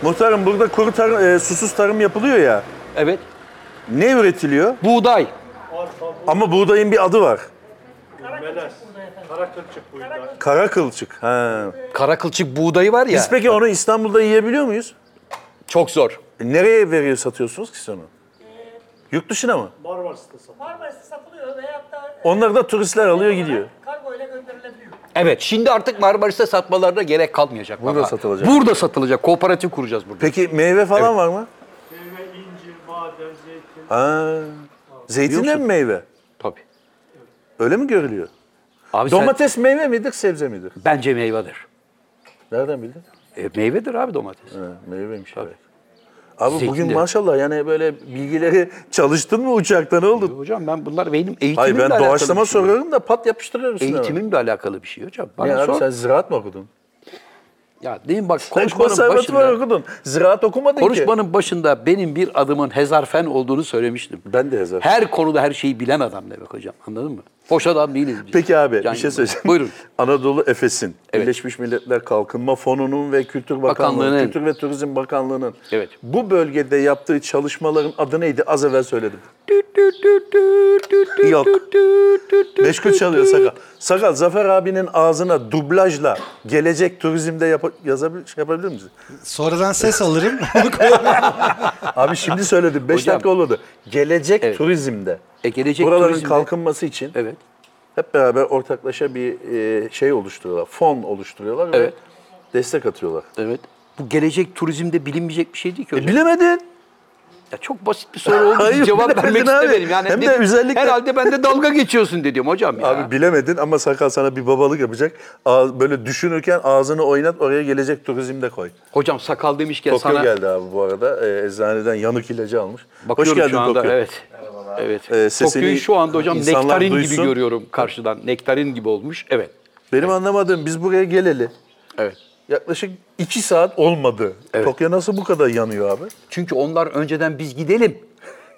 Speaker 4: muhtarım burada kuru tarım, e, susuz tarım yapılıyor ya.
Speaker 3: Evet.
Speaker 4: Ne üretiliyor?
Speaker 3: Buğday.
Speaker 4: Ama buğdayın bir adı var.
Speaker 6: Melez. Kara kılçık buyurlar.
Speaker 4: Kara kılçık. Ha.
Speaker 3: Karakılçık buğdayı var ya.
Speaker 4: Biz peki onu İstanbul'da yiyebiliyor muyuz?
Speaker 3: Çok zor.
Speaker 4: E, Nereye veriyor satıyorsunuz ki siz onu? Yurt dışına mı?
Speaker 6: Marmaris'te satılıyor.
Speaker 7: Marmaris'te satılıyor veyahut da
Speaker 4: Onları da turistler alıyor gidiyor.
Speaker 7: kargo ile gönderilebiliyor.
Speaker 3: Evet. Şimdi artık Marmaris'te satmalarına gerek kalmayacak.
Speaker 4: Burada
Speaker 3: bak ha.
Speaker 4: satılacak.
Speaker 3: Burada satılacak. Kooperatif kuracağız burada.
Speaker 4: Peki meyve falan var mı?
Speaker 6: Meyve, incir, maden, zeytin.
Speaker 4: Ha. Zeytinle mi meyve?
Speaker 3: Tabii.
Speaker 4: Öyle mi görülüyor?
Speaker 3: Abi sen-
Speaker 4: Domates meyve midir, sebze midir?
Speaker 3: bence meyvedir.
Speaker 4: Nereden bildin?
Speaker 3: E, meyvedir abi domates.
Speaker 4: Ha, meyveymiş evet. Abi bugün
Speaker 3: Zeytin de-
Speaker 4: maşallah yani böyle bilgileri çalıştın mı uçakta ne oldu?
Speaker 3: Hocam ben bunlar benim eğitimimle
Speaker 4: Hayır ben
Speaker 3: alakalı
Speaker 4: doğaçlama
Speaker 3: bir şey.
Speaker 4: soruyorum da pat yapıştırıyorsun. hemen.
Speaker 3: Eğitimimle alakalı bir şey hocam. Bana
Speaker 4: Ne abi
Speaker 3: sor.
Speaker 4: sen ziraat mı okudun?
Speaker 3: Ya değil mi bak
Speaker 4: Sen
Speaker 3: konuşmanın
Speaker 4: konservatuvar
Speaker 3: başında,
Speaker 4: okudun. Ziraat okumadın ki.
Speaker 3: konuşmanın başında benim bir adımın hezarfen olduğunu söylemiştim.
Speaker 4: Ben de yazarım.
Speaker 3: Her konuda her şeyi bilen adam demek hocam anladın mı? Boş adam değiliz biz.
Speaker 4: Peki abi
Speaker 3: Can
Speaker 4: bir şey
Speaker 3: Yılmaz.
Speaker 4: söyleyeceğim.
Speaker 3: Buyurun.
Speaker 4: Anadolu Efes'in,
Speaker 3: Evet.
Speaker 4: Birleşmiş Milletler Kalkınma Fonu'nun ve Kültür Bakanlığı'nın,
Speaker 3: Bakanlığı'nın.
Speaker 4: Kültür ve Turizm Bakanlığı'nın
Speaker 3: Evet.
Speaker 4: bu bölgede yaptığı çalışmaların adı neydi? Az evvel söyledim. Yok. Meşgul çalıyor Sakal. Sakal, Zafer abinin ağzına dublajla gelecek turizmde yap- yazabil- şey yapabilir misin?
Speaker 2: Sonradan ses alırım.
Speaker 4: Abi şimdi söyledim. 5
Speaker 3: Hocam.
Speaker 4: dakika olmadı. Gelecek
Speaker 3: Evet.
Speaker 4: turizmde.
Speaker 3: E, gelecek
Speaker 4: Buraların
Speaker 3: turizmde-
Speaker 4: kalkınması için
Speaker 3: Evet.
Speaker 4: hep beraber ortaklaşa bir e, şey oluşturuyorlar. Fon oluşturuyorlar
Speaker 3: Evet.
Speaker 4: ve destek atıyorlar. E,
Speaker 3: Evet. Bu gelecek turizmde bilinmeyecek bir şey değil ki hocam.
Speaker 4: bilemedin.
Speaker 3: Ya çok basit bir soru oldu.
Speaker 4: E, Hayır,
Speaker 3: cevap
Speaker 4: bilemedin
Speaker 3: vermek
Speaker 4: abi.
Speaker 3: istemedim. Yani
Speaker 4: Hem de
Speaker 3: dedim,
Speaker 4: özellikle-
Speaker 3: Herhalde bende dalga geçiyorsun dedim hocam ya.
Speaker 4: Abi bilemedin ama sakal sana bir babalık yapacak. Ağ- Böyle düşünürken ağzını oynat oraya gelecek turizmde koy.
Speaker 3: Hocam sakal demişken
Speaker 4: Tokyo
Speaker 3: sana
Speaker 4: geldi abi bu arada. Ee, eczaneden yanık ilacı almış.
Speaker 3: bakıyorum
Speaker 4: Hoş geldin
Speaker 3: şu anda.
Speaker 4: Tokyo.
Speaker 3: Evet. Evet.
Speaker 4: Ee, sesini
Speaker 3: Tokyo'yu şu anda hocam
Speaker 4: insanlar
Speaker 3: nektarin gibi
Speaker 4: duysun.
Speaker 3: görüyorum karşıdan. Nektarin gibi olmuş. Evet.
Speaker 4: Benim anlamadığım biz buraya geleli
Speaker 3: Evet.
Speaker 4: yaklaşık 2 saat olmadı. Tokyo nasıl bu kadar yanıyor abi?
Speaker 3: Çünkü onlar önceden biz gidelim.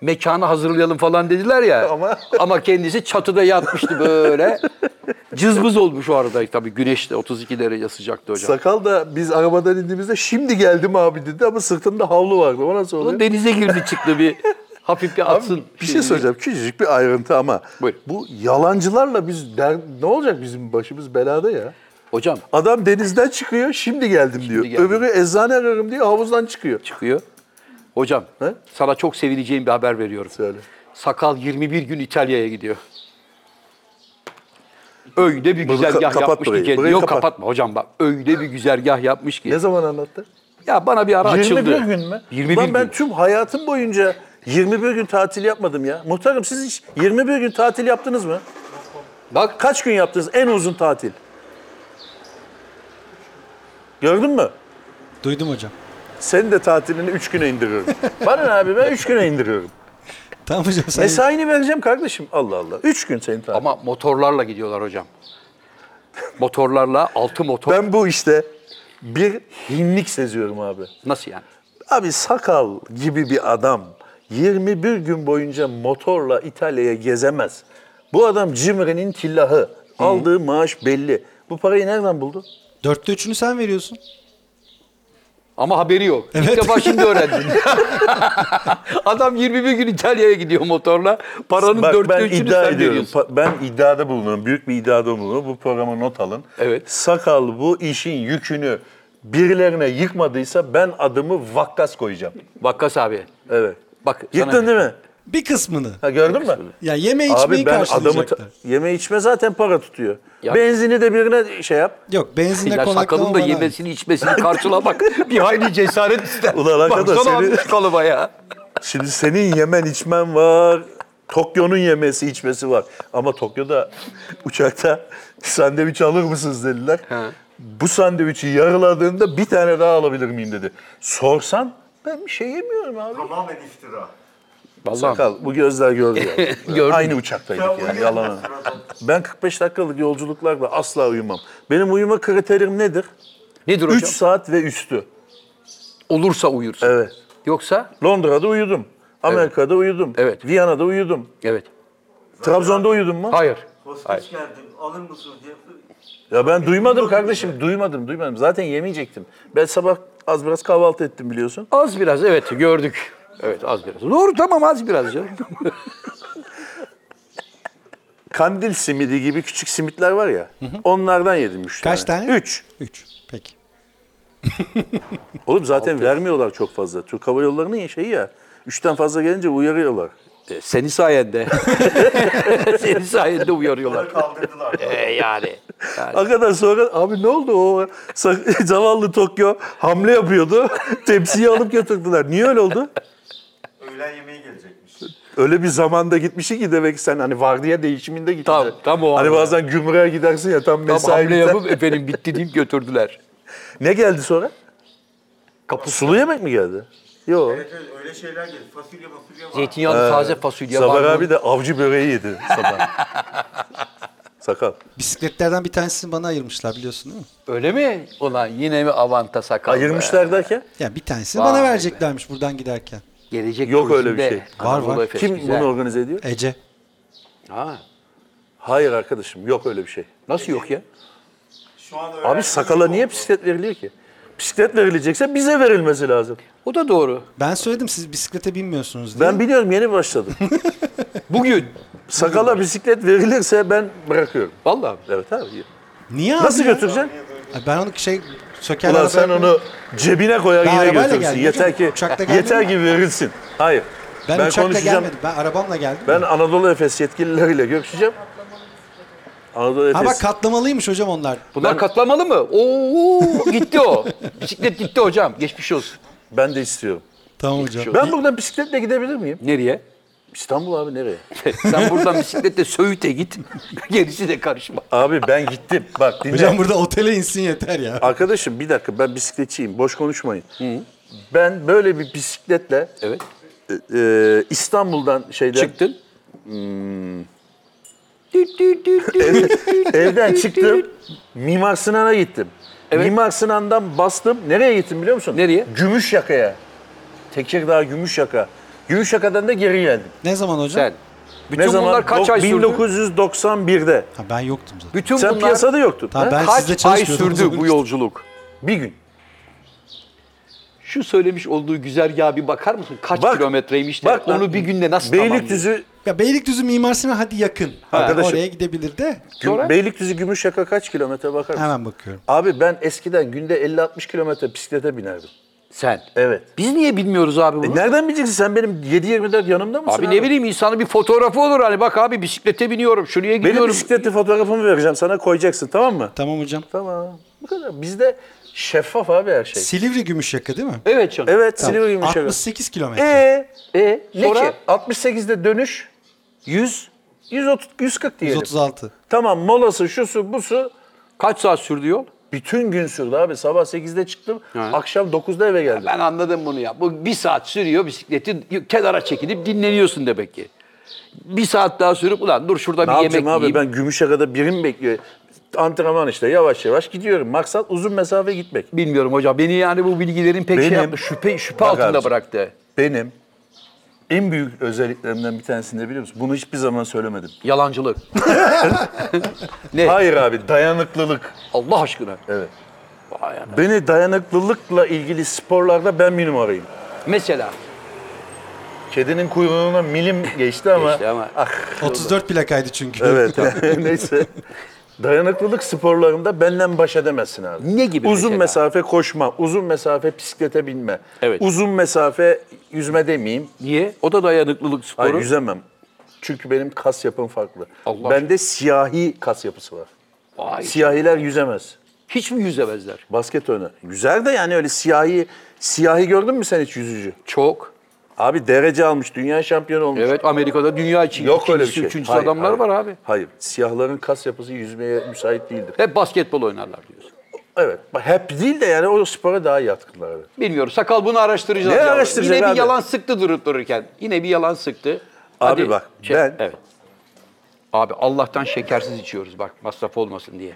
Speaker 3: Mekanı hazırlayalım falan dediler ya.
Speaker 4: Ama-
Speaker 3: ama kendisi çatıda yatmıştı böyle. Cızbız olmuş o arada tabii güneş de 32 derece sıcaktı hocam.
Speaker 4: Sakal da biz arabadan indiğimizde şimdi geldim abi dedi ama sırtında havlu vardı. O nasıl oluyor?
Speaker 3: Ulan Denize girdi çıktı bir hafif bir atsın.
Speaker 4: Bir şey söyleyeceğim. Küçücük bir ayrıntı ama.
Speaker 3: Buyurun.
Speaker 4: Bu yalancılarla biz der, ne olacak bizim başımız belada ya?
Speaker 3: Hocam
Speaker 4: Adam denizden çıkıyor, şimdi geldim diyor.
Speaker 3: geldim.
Speaker 4: Öbürü eczane ararım diyor, havuzdan çıkıyor.
Speaker 3: çıkıyor. Hocam
Speaker 4: He?
Speaker 3: sana çok sevineceğim bir haber veriyorum.
Speaker 4: Söyle.
Speaker 3: Sakal 21 gün İtalya'ya gidiyor. Öyle bir
Speaker 4: Bunu
Speaker 3: güzergah
Speaker 4: ka- kapat
Speaker 3: yapmış ki
Speaker 4: burayı,
Speaker 3: kendini.
Speaker 4: burayı
Speaker 3: Yok
Speaker 4: kapat.
Speaker 3: kapatma hocam bak. Öyle bir güzergah yapmış ki.
Speaker 4: Ne zaman anlattı?
Speaker 3: Ya bana bir ara açıldı.
Speaker 4: 21 gün mü?
Speaker 3: 21
Speaker 4: Ulan
Speaker 3: gün.
Speaker 4: ben tüm hayatım boyunca 21 gün tatil yapmadım ya. Muhtarım siz hiç 21 gün tatil yaptınız mı?
Speaker 3: Bak
Speaker 4: Kaç gün yaptınız en uzun tatil? Gördün mü?
Speaker 2: Duydum hocam.
Speaker 4: Senin de tatilini 3 güne indiriyorum. Bana ne abi ben 3 güne indiriyorum.
Speaker 2: Tamam hocam sen
Speaker 4: Mesaini vereceğim kardeşim. Allah Allah. 3 gün senin tatil.
Speaker 3: ama motorlarla gidiyorlar hocam. Motorlarla altı motor.
Speaker 4: Ben bu işte bir hinlik seziyorum abi.
Speaker 3: Nasıl yani?
Speaker 4: Abi sakal gibi bir adam 21 gün boyunca motorla İtalya'ya gezemez. Bu adam Cimri'nin tillahı. Aldığı maaş belli. Bu parayı nereden buldu?
Speaker 2: dörtte üçünü sen veriyorsun.
Speaker 3: Ama haberi yok. İlk
Speaker 2: Evet.
Speaker 3: defa şimdi öğrendim. Adam 21 gün İtalya'ya gidiyor motorla. Paranın
Speaker 4: Bak
Speaker 3: dörtte
Speaker 4: ben
Speaker 3: üçünü
Speaker 4: iddia
Speaker 3: sen
Speaker 4: ediyorum.
Speaker 3: veriyorsun.
Speaker 4: Pa- Ben iddiada bulunuyorum. Büyük bir iddiada bulunuyorum. Bu programa not alın.
Speaker 3: Evet.
Speaker 4: Sakal bu işin yükünü birilerine yıkmadıysa ben adımı vakkas koyacağım.
Speaker 3: Vakkas abi.
Speaker 4: Evet.
Speaker 3: Bak sana-
Speaker 4: Yıktın değil mi?
Speaker 2: Bir kısmını.
Speaker 4: Ha gördün mü?
Speaker 2: Ya yeme
Speaker 4: Abi
Speaker 2: içmeyi
Speaker 4: ben adamı
Speaker 2: karşılayacaklar.
Speaker 4: ta- yeme içme zaten para tutuyor.
Speaker 3: Ya-
Speaker 4: Benzini de birine şey yap.
Speaker 2: Yok benzinle
Speaker 3: Ya
Speaker 2: konaklama
Speaker 3: sakalın da
Speaker 2: bana ait.
Speaker 3: yemesini içmesini karşılamak bir hayli cesaret ister.
Speaker 4: Ulan hakikaten
Speaker 3: Baksana
Speaker 4: seni-
Speaker 3: abi şu kalıba ya.
Speaker 4: Şimdi senin yemen içmen var. Tokyo'nun yemesi içmesi var. Ama Tokyo'da uçakta sandviç alır mısınız dediler. Bu sandviçi yarıladığında bir tane daha alabilir miyim dedi. Sorsan ben bir şey yemiyorum abi.
Speaker 8: Tamamen iftira.
Speaker 3: Vallahi.
Speaker 4: Sakal bu gözler gördü ya.
Speaker 3: Gördüm.
Speaker 4: Aynı uçaktaydık yani yalan. Ben 45 dakikalık yolculuklarla asla uyumam. Benim uyuma kriterim nedir?
Speaker 3: Nedir
Speaker 4: 3
Speaker 3: hocam?
Speaker 4: saat ve üstü.
Speaker 3: Olursa uyursun.
Speaker 4: Evet.
Speaker 3: Yoksa?
Speaker 4: Londra'da uyudum. Amerika'da uyudum.
Speaker 3: Evet.
Speaker 4: Viyana'da uyudum.
Speaker 3: Evet.
Speaker 4: Trabzon'da uyudum mu?
Speaker 3: Hayır.
Speaker 8: Hostes geldim alır mısınız diye
Speaker 4: Ya ben duymadım kardeşim. Duymadım, duymadım. Zaten yemeyecektim. Ben sabah az biraz kahvaltı ettim biliyorsun.
Speaker 3: Az biraz evet gördük. Evet az biraz. Doğru tamam az biraz canım.
Speaker 4: Kandil simidi gibi küçük simitler var ya. Onlardan yedim üç
Speaker 2: Kaç tane?
Speaker 4: Üç.
Speaker 2: Üç. Peki.
Speaker 4: Oğlum zaten vermiyorlar çok fazla. Türk Hava Yolları'nın şeyi ya. Üçten fazla gelince uyarıyorlar.
Speaker 3: E, Senin sayende. Senin sayende uyarıyorlar.
Speaker 8: kaldırdılar.
Speaker 3: E, yani. yani.
Speaker 4: O kadar sonra abi ne oldu o Sa- zavallı Tokyo hamle yapıyordu. Tepsiyi alıp götürdüler. Niye öyle oldu?
Speaker 8: Öğlen yemeği gelecekmiş.
Speaker 4: Öyle bir zamanda gitmişsin ki demek ki sen hani vardiya değişiminde gittin.
Speaker 3: Tam- tam o
Speaker 4: Hani
Speaker 3: anda.
Speaker 4: bazen gümrüğe gidersin ya tam
Speaker 3: Tam
Speaker 4: mesai
Speaker 3: hamle
Speaker 4: biter.
Speaker 3: yapıp efendim bitti deyip götürdüler.
Speaker 4: Ne geldi sonra? Sulu yemek mi geldi? Yok.
Speaker 8: Evet, evet, öyle şeyler gelir. Fasulye fasulye var.
Speaker 3: Ee, Zeytinyağlı taze fasulye
Speaker 4: Sabah
Speaker 3: var.
Speaker 4: abi de avcı böreği yedi sabah. Sakal.
Speaker 2: Bisikletlerden bir tanesini bana ayırmışlar biliyorsun değil mi?
Speaker 3: Öyle mi? Ulan yine mi avanta sakal? be?
Speaker 4: Ayırmışlar derken
Speaker 2: Yani bir tanesini
Speaker 3: Vay
Speaker 2: bana
Speaker 3: be.
Speaker 2: vereceklermiş buradan giderken.
Speaker 3: Gelecek
Speaker 4: Yok öyle bir
Speaker 3: turizmde
Speaker 4: şey.
Speaker 2: Var,
Speaker 3: Anadolu
Speaker 2: var.
Speaker 3: Efes
Speaker 4: kim
Speaker 3: güzel.
Speaker 4: bunu organize ediyor?
Speaker 2: Ece.
Speaker 3: Ha,
Speaker 4: Hayır arkadaşım yok öyle bir şey.
Speaker 3: nasıl yok ya?
Speaker 8: Şu an öğrenci-
Speaker 4: Abi sakala niye bisiklet veriliyor ki? Bisiklet verilecekse bize verilmesi lazım.
Speaker 3: O da doğru.
Speaker 2: Ben söyledim siz bisiklete binmiyorsunuz diye.
Speaker 4: Ben biliyorum yeni başladım.
Speaker 3: Bugün.
Speaker 4: Sakala bisiklet verilirse ben bırakıyorum.
Speaker 3: Vallahi.
Speaker 4: Evet abi.
Speaker 2: Niye abi
Speaker 4: Nasıl
Speaker 2: ya?
Speaker 4: götüreceksin?
Speaker 2: Ay Ben onu şey söker
Speaker 4: Ulan
Speaker 2: arabaya
Speaker 4: sen
Speaker 2: koyarım.
Speaker 4: onu cebine koyar
Speaker 2: Ben
Speaker 4: yine
Speaker 2: arabayla
Speaker 4: götürürsün.
Speaker 2: geldim
Speaker 4: Yeter
Speaker 2: hocam.
Speaker 4: ki
Speaker 2: Uçakla gelmedim
Speaker 4: yeter
Speaker 2: ben.
Speaker 4: ki verilsin. Hayır.
Speaker 2: Ben,
Speaker 4: ben
Speaker 2: uçakla
Speaker 4: konuşacağım.
Speaker 2: gelmedim. Ben arabamla geldim.
Speaker 4: Ben Anadolu Efes yetkilileriyle görüşeceğim. Anadolu Efes.
Speaker 2: Ha bak katlamalıymış hocam onlar.
Speaker 3: Bunlar katlamalı mı? Oo gitti o. Bisiklet gitti hocam. Geçmiş olsun.
Speaker 4: ben de istiyorum.
Speaker 2: Tamam hocam.
Speaker 4: Ben buradan bisikletle gidebilir miyim?
Speaker 3: Nereye?
Speaker 4: İstanbul abi nereye?
Speaker 3: Sen buradan bisikletle Söğüt'e git. Gerisi de karışma.
Speaker 4: Abi ben gittim. Bak dinle.
Speaker 2: Hocam burada otele insin yeter ya.
Speaker 4: Arkadaşım bir dakika ben bisikletçiyim. Boş konuşmayın. Ben böyle bir bisikletle
Speaker 3: Evet.
Speaker 4: e, e, İstanbul'dan şeyden
Speaker 3: Çıktın.
Speaker 4: evden çıktım. Mimar Sinan'a gittim. Mimar Sinan'dan bastım. Nereye gittim biliyor musun?
Speaker 3: Nereye?
Speaker 4: Gümüşyaka'ya. Tekirdağ Gümüşyaka. Gümüşyaka'dan da geri geldim.
Speaker 2: Ne zaman hocam?
Speaker 3: Sen. Bütün
Speaker 4: ne zaman?
Speaker 3: bunlar kaç
Speaker 4: Dok-
Speaker 3: ay sürdü?
Speaker 4: 1991'de.
Speaker 2: Ha, ben yoktum zaten.
Speaker 3: Bütün
Speaker 4: Sen
Speaker 3: bunlar
Speaker 4: piyasada yoktun.
Speaker 2: Tamam,
Speaker 4: ha?
Speaker 2: ben sizle
Speaker 3: kaç ay
Speaker 2: çalışmıyordum o
Speaker 3: sürdü
Speaker 2: zaman.
Speaker 3: bu yolculuk?
Speaker 4: Bir gün.
Speaker 3: Şu söylemiş olduğu güzergaha bir bakar mısın? Kaç
Speaker 4: Bak,
Speaker 3: kilometreymiş de
Speaker 4: bak lan,
Speaker 3: onu bir günde nasıl tamamlıyor?
Speaker 4: Beylikdüzü
Speaker 2: Ya Beylikdüzü Mimar Sinan hadi yakın.
Speaker 4: Arkadaşım.
Speaker 2: Oraya gidebilir de
Speaker 4: Güm- Beylikdüzü Gümüşyaka kaç kilometre bakar mısın?
Speaker 2: hemen bakıyorum.
Speaker 4: Abi ben eskiden günde 50-60 kilometre bisiklete binerdim.
Speaker 3: Sen.
Speaker 4: Evet.
Speaker 3: E, Biz niye bilmiyoruz abi bunu?
Speaker 4: E nereden bileceksin sen benim 7-24 yanımda mısın?
Speaker 3: Abi ne bileyim insanın bir fotoğrafı olur hani bak abi bisiklete biniyorum şuraya
Speaker 4: Benim
Speaker 3: gidiyorum.
Speaker 4: bisikletli fotoğrafımı vereceğim sana koyacaksın tamam mı?
Speaker 2: Tamam hocam.
Speaker 4: Tamam. Bu kadar. Bizde şeffaf abi her şey.
Speaker 2: Silivri Gümüşyaka değil mi?
Speaker 3: Evet canım.
Speaker 4: Evet
Speaker 2: Tamam.
Speaker 4: Silivri Gümüşyaka.
Speaker 2: 68 kilometre.
Speaker 4: Ee,
Speaker 3: E, ne
Speaker 4: şey sonra
Speaker 3: ki?
Speaker 4: 68'de dönüş 100 130 140 diyelim.
Speaker 2: 136.
Speaker 4: Tamam molası şusu busu
Speaker 3: Kaç saat sürdü yol?
Speaker 4: bütün gün sürdü abi. Sabah 8'de çıktım. Akşam 9'da eve geldim.
Speaker 3: Ben anladım bunu ya. Bu bir saat sürüyor bisikleti kenara çekilip dinleniyorsun demek ki. Bir saat daha sürüp ulan dur şurada
Speaker 4: Ne
Speaker 3: bir
Speaker 4: yapacağım
Speaker 3: yemek
Speaker 4: abi
Speaker 3: yiyeyim.
Speaker 4: ben Gümüşyaka'da birim bekliyor. Antrenman işte yavaş yavaş gidiyorum. Maksat uzun mesafe gitmek.
Speaker 3: Bilmiyorum hocam. Beni yani bu bilgilerin pek şey
Speaker 4: Benim-
Speaker 3: yaptı. Şüphe, şüphe
Speaker 4: Bak
Speaker 3: altında
Speaker 4: abiciğim.
Speaker 3: bıraktı.
Speaker 4: Benim en büyük özelliklerimden bir tanesini de biliyor musun? Bunu hiçbir zaman söylemedim.
Speaker 3: Yalancılık. ne?
Speaker 4: Hayır abi dayanıklılık.
Speaker 3: Allah aşkına.
Speaker 4: Evet.
Speaker 3: Vay ana.
Speaker 4: Beni dayanıklılıkla ilgili sporlarda ben bir numarayım.
Speaker 3: Mesela.
Speaker 4: Kedinin kuyruğuna milim geçti ama.
Speaker 3: Geçti ama.
Speaker 4: Ah,
Speaker 2: 34 plakaydı çünkü.
Speaker 4: evet neyse. Dayanıklılık sporlarında benden baş edemezsin abi.
Speaker 3: Ne gibi
Speaker 4: Uzun
Speaker 3: mesela?
Speaker 4: mesafe koşma, uzun mesafe bisiklete binme.
Speaker 3: Evet.
Speaker 4: Uzun mesafe yüzme demeyeyim.
Speaker 3: Niye? O da dayanıklılık sporu.
Speaker 4: Hayır yüzemem. Çünkü benim kas yapım farklı.
Speaker 3: Allah
Speaker 4: Bende siyahi kas yapısı var.
Speaker 3: Vay.
Speaker 4: Siyahiler yüzemez.
Speaker 3: Hiç mi yüzemezler?
Speaker 4: Basket oynar. Yüzer de yani öyle siyahi siyahi gördün mü sen hiç yüzücü?
Speaker 3: Çok.
Speaker 4: Abi derece almış, dünya şampiyonu olmuş.
Speaker 3: Evet Amerika'da dünya için.
Speaker 4: Yok öyle bir
Speaker 3: ikincisi,
Speaker 4: şey.
Speaker 3: Üçüncüsü
Speaker 4: Hayır,
Speaker 3: adamlar
Speaker 4: hayır.
Speaker 3: var abi.
Speaker 4: Hayır. Siyahların kas yapısı yüzmeye müsait değildir.
Speaker 3: Hep basketbol oynarlar diyorsun.
Speaker 4: Evet. bak Hep değil de yani o spora daha yatkınlar. evet.
Speaker 3: Bilmiyorum. Sakal bunu araştıracağız.
Speaker 4: Ne
Speaker 3: yavrum.
Speaker 4: araştıracak
Speaker 3: Yine bir
Speaker 4: abi?
Speaker 3: yalan sıktı durup dururken. Yine bir yalan sıktı. şey,
Speaker 4: Abi bak, ben-
Speaker 3: Evet. Abi Allah'tan şekersiz içiyoruz bak masraf olmasın diye.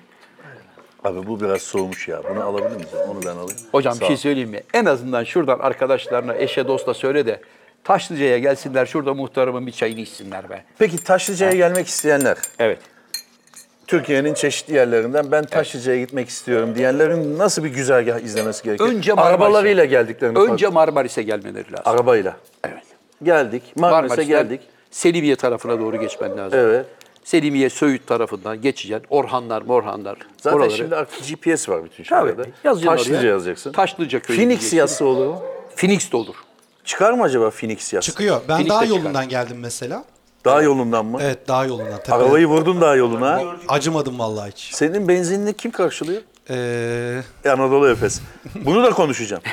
Speaker 4: Abi bu biraz soğumuş ya. Bunu alabilir miyiz? Onu ben alayım.
Speaker 3: Hocam
Speaker 4: Sağ
Speaker 3: bir şey
Speaker 4: ol.
Speaker 3: söyleyeyim mi? En azından şuradan arkadaşlarına, eşe, dosta söyle de Taşlıca'ya gelsinler şurada muhtarımın bir çayını içsinler be.
Speaker 4: Peki Taşlıca'ya gelmek isteyenler,
Speaker 3: Evet.
Speaker 4: Türkiye'nin çeşitli yerlerinden ben Taşlıca'ya gitmek istiyorum diyenlerin nasıl bir güzergah izlemesi gerekiyor?
Speaker 3: Önce Marmaris'e.
Speaker 4: E, Arabalarıyla geldiklerini
Speaker 3: Önce Marmaris'e gelmeleri lazım.
Speaker 4: fark- Arabayla.
Speaker 3: Evet.
Speaker 4: Geldik. Marmaris'e
Speaker 3: Marmaris'ten
Speaker 4: geldik.
Speaker 3: Selimiye tarafına doğru geçmen lazım.
Speaker 4: Evet.
Speaker 3: Selimiye, Söğüt tarafından geçeceksin. Orhanlar, Morhanlar.
Speaker 4: Zaten
Speaker 3: oraları.
Speaker 4: şimdi artık GPS var bütün
Speaker 3: Tabii.
Speaker 4: şeylerde.
Speaker 3: Yazacaksın
Speaker 4: Taşlıca
Speaker 3: oraya.
Speaker 4: yazacaksın.
Speaker 3: Taşlıca köyü
Speaker 4: Phoenix
Speaker 3: diyeceksin.
Speaker 4: yazısı olur mu?
Speaker 3: Phoenix de olur.
Speaker 4: Çıkar mı acaba Phoenix yazısı?
Speaker 2: Çıkıyor. Ben
Speaker 3: Finish
Speaker 2: daha
Speaker 3: de çıkar.
Speaker 2: yolundan geldim mesela.
Speaker 4: Daha yolundan mı?
Speaker 2: Evet daha yolundan. Tabii.
Speaker 4: Arabayı vurdun daha yoluna.
Speaker 2: Acımadım vallahi hiç.
Speaker 4: Senin benzinini kim karşılıyor?
Speaker 2: Ee,
Speaker 4: E, Anadolu Efes. Bunu da konuşacağım.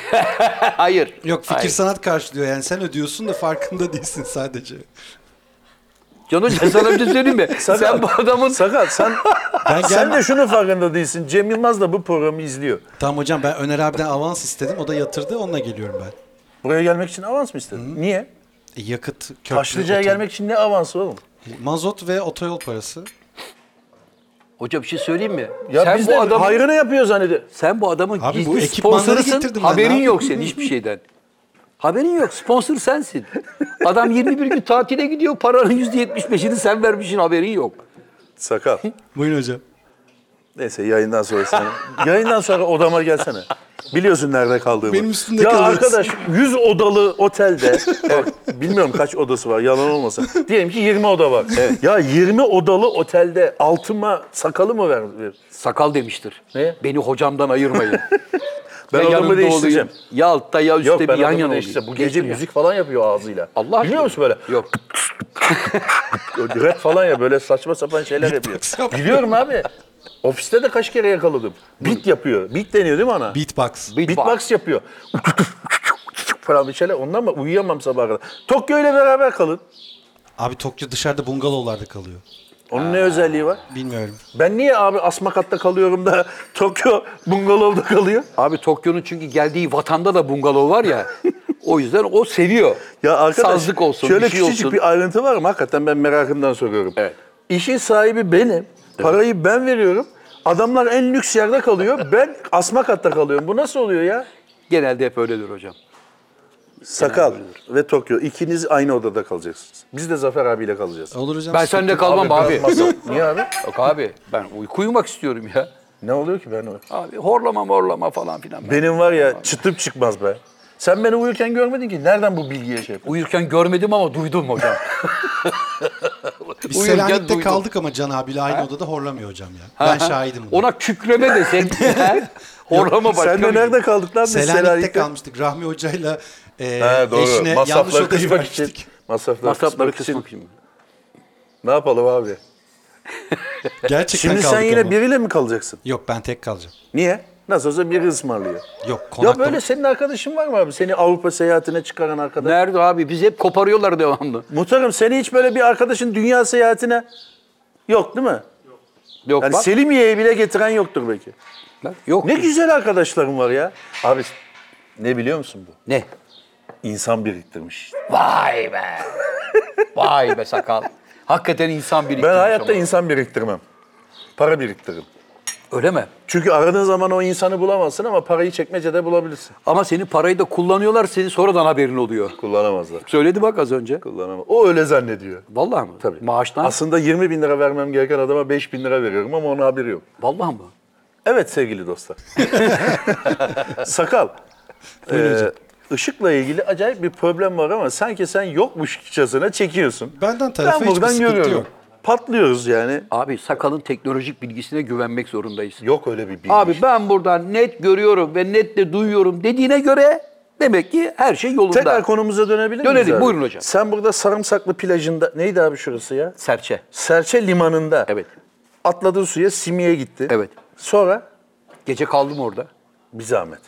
Speaker 3: Hayır.
Speaker 2: yok fikir
Speaker 3: Hayır.
Speaker 2: sanat karşılıyor yani sen ödüyorsun da farkında değilsin sadece.
Speaker 3: Canım ben sana bir şey söyleyeyim mi? Sen bu adamın
Speaker 4: Sakat sen
Speaker 2: Ben
Speaker 4: sen
Speaker 2: gelme-
Speaker 4: de şunun farkında değilsin. Cem Yılmaz da bu programı izliyor.
Speaker 2: Tamam hocam ben Öner abiden avans istedim o da yatırdı onunla geliyorum ben.
Speaker 4: Buraya gelmek için avans mı istedin? Niye?
Speaker 2: E, yakıt, köprü,
Speaker 4: Taşlıca'ya
Speaker 2: otom-
Speaker 4: gelmek için ne avansı oğlum?
Speaker 2: mazot ve otoyol parası.
Speaker 3: Hoca bir şey söyleyeyim mi?
Speaker 4: Ya
Speaker 3: sen
Speaker 4: biz
Speaker 3: bu
Speaker 4: de
Speaker 3: adamın,
Speaker 4: hayrına yapıyor zannediyor.
Speaker 3: sen bu adamın
Speaker 2: Abi bu
Speaker 3: gizli
Speaker 2: ekipmanları
Speaker 3: sponsorusun.
Speaker 2: getirdim ben, ne
Speaker 3: Haberin
Speaker 2: yapayım?
Speaker 3: yok senin hiçbir şeyden. Haberin yok. Sponsor sensin. Adam 21 gün tatile gidiyor. Paranın %75'ini sen vermişsin. Haberin yok.
Speaker 4: Sakal.
Speaker 2: Buyurun hocam.
Speaker 4: Neyse yayından sonra sen. yayından sonra odama gelsene. Biliyorsun nerede kaldığımı.
Speaker 2: Benim üstümde
Speaker 4: Ya
Speaker 2: kalıyorsun.
Speaker 4: arkadaş 100 odalı otelde bak, bilmiyorum kaç odası var yalan olmasın. Diyelim ki 20 oda var. Ya 20 odalı otelde altıma sakalı mı ver? ver?
Speaker 3: Sakal demiştir.
Speaker 4: Ne?
Speaker 3: Beni hocamdan ayırmayın.
Speaker 4: Ben
Speaker 3: Ya yanımda
Speaker 4: odamı
Speaker 3: olayım,
Speaker 4: değiştireceğim.
Speaker 3: Ya altta ya üstte
Speaker 4: Yok
Speaker 3: bir
Speaker 4: ben
Speaker 3: yan
Speaker 4: yan
Speaker 3: yana
Speaker 4: adamı
Speaker 3: olayım.
Speaker 4: değiştireceğim. Bu gece
Speaker 3: Değiştir ya.
Speaker 4: müzik falan yapıyor ağzıyla.
Speaker 3: Allah aşkına.
Speaker 4: Biliyor musun böyle?
Speaker 3: Yok.
Speaker 4: Rap falan ya böyle saçma sapan şeyler yapıyor.
Speaker 2: yapıyor.
Speaker 4: Biliyorum abi. Ofiste de kaç kere yakaladım. Beat yapıyor. Beat deniyor değil mi ona?
Speaker 2: Beatbox.
Speaker 3: Beatbox.
Speaker 4: Beatbox yapıyor. falan bir şeyler. Ondan mı? Uyuyamam sabaha kadar. Tokyo ile beraber kalın.
Speaker 2: Abi Tokyo dışarıda bungalovlarda kalıyor.
Speaker 4: Onun ne özelliği var?
Speaker 2: Bilmiyorum.
Speaker 4: Ben niye abi Asmakat'ta kalıyorum da Tokyo bungalovda kalıyor?
Speaker 3: Abi Tokyo'nun çünkü geldiği vatanda da bungalov var ya. o yüzden o seviyor.
Speaker 4: Ya arkadaş
Speaker 3: Sazlık olsun,
Speaker 4: şöyle
Speaker 3: bir şey
Speaker 4: küçücük
Speaker 3: olsun.
Speaker 4: bir ayrıntı var ama hakikaten ben merakımdan soruyorum.
Speaker 3: Evet.
Speaker 4: İşin sahibi benim. Parayı ben veriyorum. Adamlar en lüks yerde kalıyor. Ben Asmakat'ta kalıyorum. Bu nasıl oluyor ya?
Speaker 3: Genelde hep öyledir hocam.
Speaker 4: Sakal ve Tokyo ikiniz aynı odada kalacaksınız. Biz de Zafer abiyle kalacağız.
Speaker 2: Olur hocam.
Speaker 3: Ben seninle kalmam abi.
Speaker 4: biraz masal. Niye abi?
Speaker 3: Yok abi ben uyku uyumak istiyorum ya.
Speaker 4: Ne oluyor ki ben o?
Speaker 3: Abi horlama morlama falan filan. Ben
Speaker 4: Benim var ya çıtıp çıkmaz be. Sen beni uyurken görmedin ki. Nereden bu bilgiye şey yapıyorsun?
Speaker 3: Uyurken görmedim ama duydum hocam.
Speaker 2: Biz
Speaker 3: uyurken
Speaker 2: Selanik'te
Speaker 3: duydum.
Speaker 2: kaldık ama Can abiyle aynı odada horlamıyor hocam ya. Ben şahidim. buna.
Speaker 3: Ona kükreme desek. he? horlama başka
Speaker 4: Sen
Speaker 3: bir
Speaker 4: de
Speaker 3: şey.
Speaker 4: nerede kaldık lan? biz
Speaker 2: Selanik'te kalmıştık. Rahmi hocayla e,
Speaker 4: He, doğru.
Speaker 2: eşine yanlış
Speaker 4: Masrafları
Speaker 2: odaya
Speaker 4: kısmak için.
Speaker 2: gitmiştik.
Speaker 4: Masrafları,
Speaker 3: Masrafları
Speaker 4: kısmak için.
Speaker 3: kısmak için.
Speaker 4: Ne yapalım abi?
Speaker 2: Gerçekten
Speaker 4: Şimdi
Speaker 2: kaldık
Speaker 4: sen yine
Speaker 2: ama.
Speaker 4: biriyle mi kalacaksın?
Speaker 2: Yok ben tek kalacağım.
Speaker 4: Niye? Nasıl olsa biri ısmarlıyor.
Speaker 2: Yok
Speaker 4: Ya
Speaker 2: konakta.
Speaker 4: böyle senin arkadaşın var mı abi? Seni Avrupa seyahatine çıkaran arkadaş.
Speaker 3: Nerede abi? Biz hep koparıyorlar devamlı.
Speaker 4: Muhtarım seni hiç böyle bir arkadaşın dünya seyahatine yok değil mi?
Speaker 3: Yok
Speaker 4: Yani
Speaker 3: bak.
Speaker 4: Selimiye'ye bile getiren yoktur belki.
Speaker 3: Yok.
Speaker 4: Ne güzel arkadaşlarım var ya. Abi ne biliyor musun bu?
Speaker 3: Ne?
Speaker 4: İnsan biriktirmiş.
Speaker 3: Vay be. Vay be sakal. Hakikaten insan biriktirmiş
Speaker 4: Ben hayatta
Speaker 3: ama.
Speaker 4: insan biriktirmem. Para biriktiririm.
Speaker 3: Öyle mi?
Speaker 4: Çünkü aradığın zaman o insanı bulamazsın ama parayı çekmecede bulabilirsin.
Speaker 3: Ama senin parayı da kullanıyorlar, senin sonradan haberin oluyor.
Speaker 4: Kullanamazlar.
Speaker 3: Söyledi bak az önce.
Speaker 4: Kullanamaz. O öyle zannediyor.
Speaker 3: Vallahi mı?
Speaker 4: Tabii.
Speaker 3: Maaştan?
Speaker 4: Aslında 20 bin lira vermem gereken adama 5 bin lira veriyorum ama onun haberi yok.
Speaker 3: Vallahi mı?
Speaker 4: Evet sevgili dostlar. Sakal. Işıkla ışıkla ilgili acayip bir problem var ama sanki sen yokmuşçasına çekiyorsun.
Speaker 2: Benden tarafa
Speaker 4: ben
Speaker 2: hiçbir
Speaker 4: buradan
Speaker 2: sıkıntı
Speaker 4: görüyorum.
Speaker 2: yok.
Speaker 4: Patlıyoruz yani.
Speaker 3: Abi sakalın teknolojik bilgisine güvenmek zorundayız.
Speaker 4: Yok öyle bir bilgi.
Speaker 3: Abi ben buradan net görüyorum ve net de duyuyorum dediğine göre demek ki her şey yolunda.
Speaker 4: Tekrar konumuza dönebilir miyiz?
Speaker 3: Dönelim,
Speaker 4: abi?
Speaker 3: buyurun hocam.
Speaker 4: Sen burada Sarımsaklı plajında neydi abi şurası ya?
Speaker 3: Serçe.
Speaker 4: Serçe limanında.
Speaker 3: Evet.
Speaker 4: Atladın suya Simi'ye gitti.
Speaker 3: Evet.
Speaker 4: Sonra
Speaker 3: Gece kaldım orada.
Speaker 4: bir zahmet.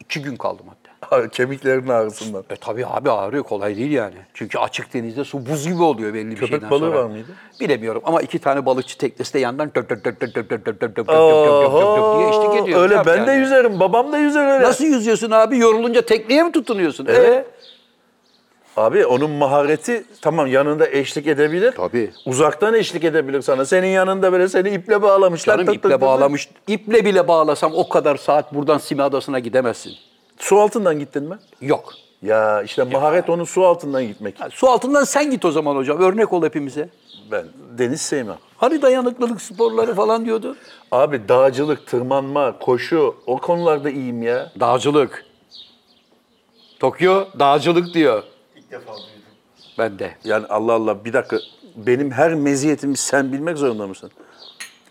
Speaker 3: İki gün kaldım hatta.
Speaker 4: Abi, kemiklerinin ağrısından.
Speaker 3: E tabii abi ağrıyor kolay değil yani. Çünkü açık denizde su buz gibi oluyor belli bir
Speaker 4: Köpek
Speaker 3: şeyden sonra.
Speaker 4: balığı var mıydı?
Speaker 3: Bilemiyorum ama iki tane balıkçı teknesi de yandan dök dök dök dök dök dök dök dök dök dök dök dök
Speaker 4: Oho,
Speaker 3: diye eşlik ediyor. Ne
Speaker 4: Öyle ben
Speaker 3: yapacağım
Speaker 4: de
Speaker 3: yani?
Speaker 4: yüzerim. Babam da yüzer öyle.
Speaker 3: Nasıl yüzüyorsun abi? Yorulunca tekneye mi tutunuyorsun?
Speaker 4: Evet.
Speaker 3: Evet.
Speaker 4: Abi onun mahareti tamam yanında eşlik edebilir.
Speaker 3: Tabii.
Speaker 4: Uzaktan eşlik edebilir sana. Senin yanında böyle seni iple bağlamışlar.
Speaker 3: Canım
Speaker 4: tık tık tık
Speaker 3: iple
Speaker 4: tık.
Speaker 3: bağlamış. İple bile bağlasam o kadar saat buradan Simi Adası'na gidemezsin.
Speaker 4: Su altından gittin mi?
Speaker 3: Yok.
Speaker 4: Ya işte maharet onun su altından gitmek.
Speaker 3: Ha, Su altından sen git o zaman hocam. Örnek ol hepimize.
Speaker 4: Ben deniz sevmem.
Speaker 3: Hani dayanıklılık sporları falan diyordu.
Speaker 4: Abi dağcılık, tırmanma, koşu o konularda iyiyim ya.
Speaker 3: Dağcılık. Tokyo dağcılık diyor.
Speaker 8: İlk defa duydum.
Speaker 3: Ben de.
Speaker 4: Yani Allah Allah bir dakika benim her meziyetimi sen bilmek zorunda mısın?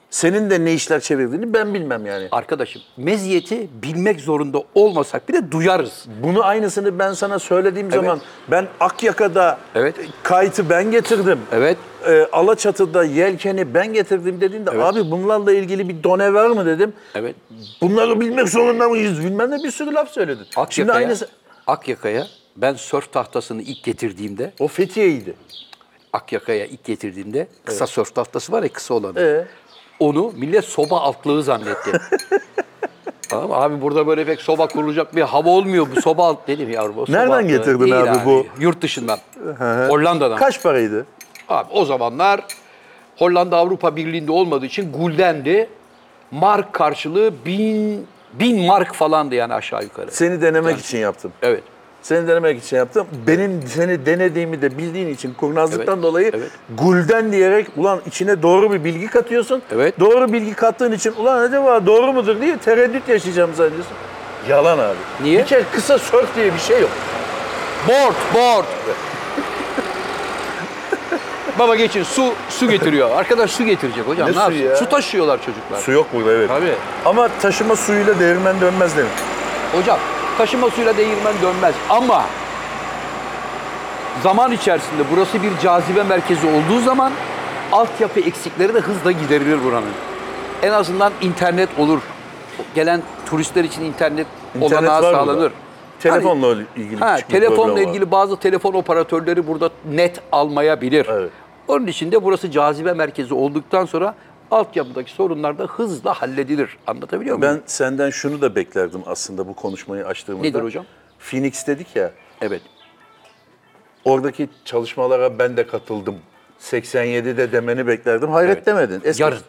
Speaker 4: Senin de ne işler çevirdiğini ben bilmem yani.
Speaker 3: Arkadaşım meziyeti bilmek zorunda olmasak bir de duyarız.
Speaker 4: Bunu aynısını ben sana söylediğim zaman ben Akyaka'da
Speaker 3: Evet.
Speaker 4: kayıtı ben getirdim.
Speaker 3: Evet.
Speaker 4: e, Alaçatı'da yelkeni ben getirdim dediğinde abi bunlarla ilgili bir done var mı dedim.
Speaker 3: Evet.
Speaker 4: Bunları bilmek zorunda mıyız bilmem ne bir sürü laf söyledin. Şimdi
Speaker 3: Akyaka'ya,
Speaker 4: aynısı
Speaker 3: Akyaka'ya ben sörf tahtasını ilk getirdiğimde
Speaker 4: o Fethiye'ydi.
Speaker 3: Akyaka'ya ilk getirdiğimde kısa sörf tahtası var ya kısa olanı.
Speaker 4: Ee?
Speaker 3: Onu millet soba altlığı zannetti. tamam mı? abi burada böyle pek soba kurulacak bir hava olmuyor bu soba alt dedim yavrum. o soba
Speaker 4: Nereden
Speaker 3: altlığı
Speaker 4: getirdin
Speaker 3: değil
Speaker 4: abi bu?
Speaker 3: Yurt dışından. Hollanda'dan.
Speaker 4: Kaç paraydı?
Speaker 3: Abi o zamanlar Hollanda Avrupa Birliği'nde olmadığı için guldendi. Mark karşılığı bin, bin mark falandı yani aşağı yukarı.
Speaker 4: Seni denemek için yaptım.
Speaker 3: Evet.
Speaker 4: Seni denemek için yaptım. Benim seni denediğimi de bildiğin için kurnazlıktan
Speaker 3: Evet,
Speaker 4: dolayı
Speaker 3: evet.
Speaker 4: gulden diyerek ulan içine doğru bir bilgi katıyorsun.
Speaker 3: Evet.
Speaker 4: Doğru bilgi kattığın için ulan acaba doğru mudur diye tereddüt yaşayacağım zannediyorsun. Yalan abi.
Speaker 3: Niye?
Speaker 4: Bir kere kısa sörf diye bir şey yok.
Speaker 3: Board, board. Baba geçin su su getiriyor. Arkadaş su getirecek hocam.
Speaker 4: Ne
Speaker 3: Ne,
Speaker 4: suyu
Speaker 3: yapsın?
Speaker 4: ya?
Speaker 3: Su taşıyorlar çocuklar.
Speaker 4: Su yok burada evet.
Speaker 3: Tabii.
Speaker 4: Ama taşıma suyuyla değirmen dönmez demek.
Speaker 3: Hocam taşıma suyla değirmen dönmez ama zaman içerisinde burası bir cazibe merkezi olduğu zaman altyapı eksikleri de hızla giderilir buranın. En azından internet olur. Gelen turistler için internet,
Speaker 4: İnternet
Speaker 3: olanağı
Speaker 4: var burada.
Speaker 3: sağlanır. Hani
Speaker 4: Telefonla ilgili
Speaker 3: Ha,
Speaker 4: küçük bir problem
Speaker 3: telefonla
Speaker 4: var.
Speaker 3: ilgili bazı telefon operatörleri burada net almayabilir.
Speaker 4: Evet.
Speaker 3: Onun için de burası cazibe merkezi olduktan sonra altyapıdaki sorunlar da hızla halledilir. Anlatabiliyor muyum?
Speaker 4: Ben senden şunu da beklerdim aslında bu konuşmayı açtığımda.
Speaker 3: Nedir hocam?
Speaker 4: Phoenix dedik ya.
Speaker 3: Evet.
Speaker 4: Oradaki çalışmalara ben de katıldım. 87'de demeni beklerdim. Hayret demedin. Eski-
Speaker 3: Yarın.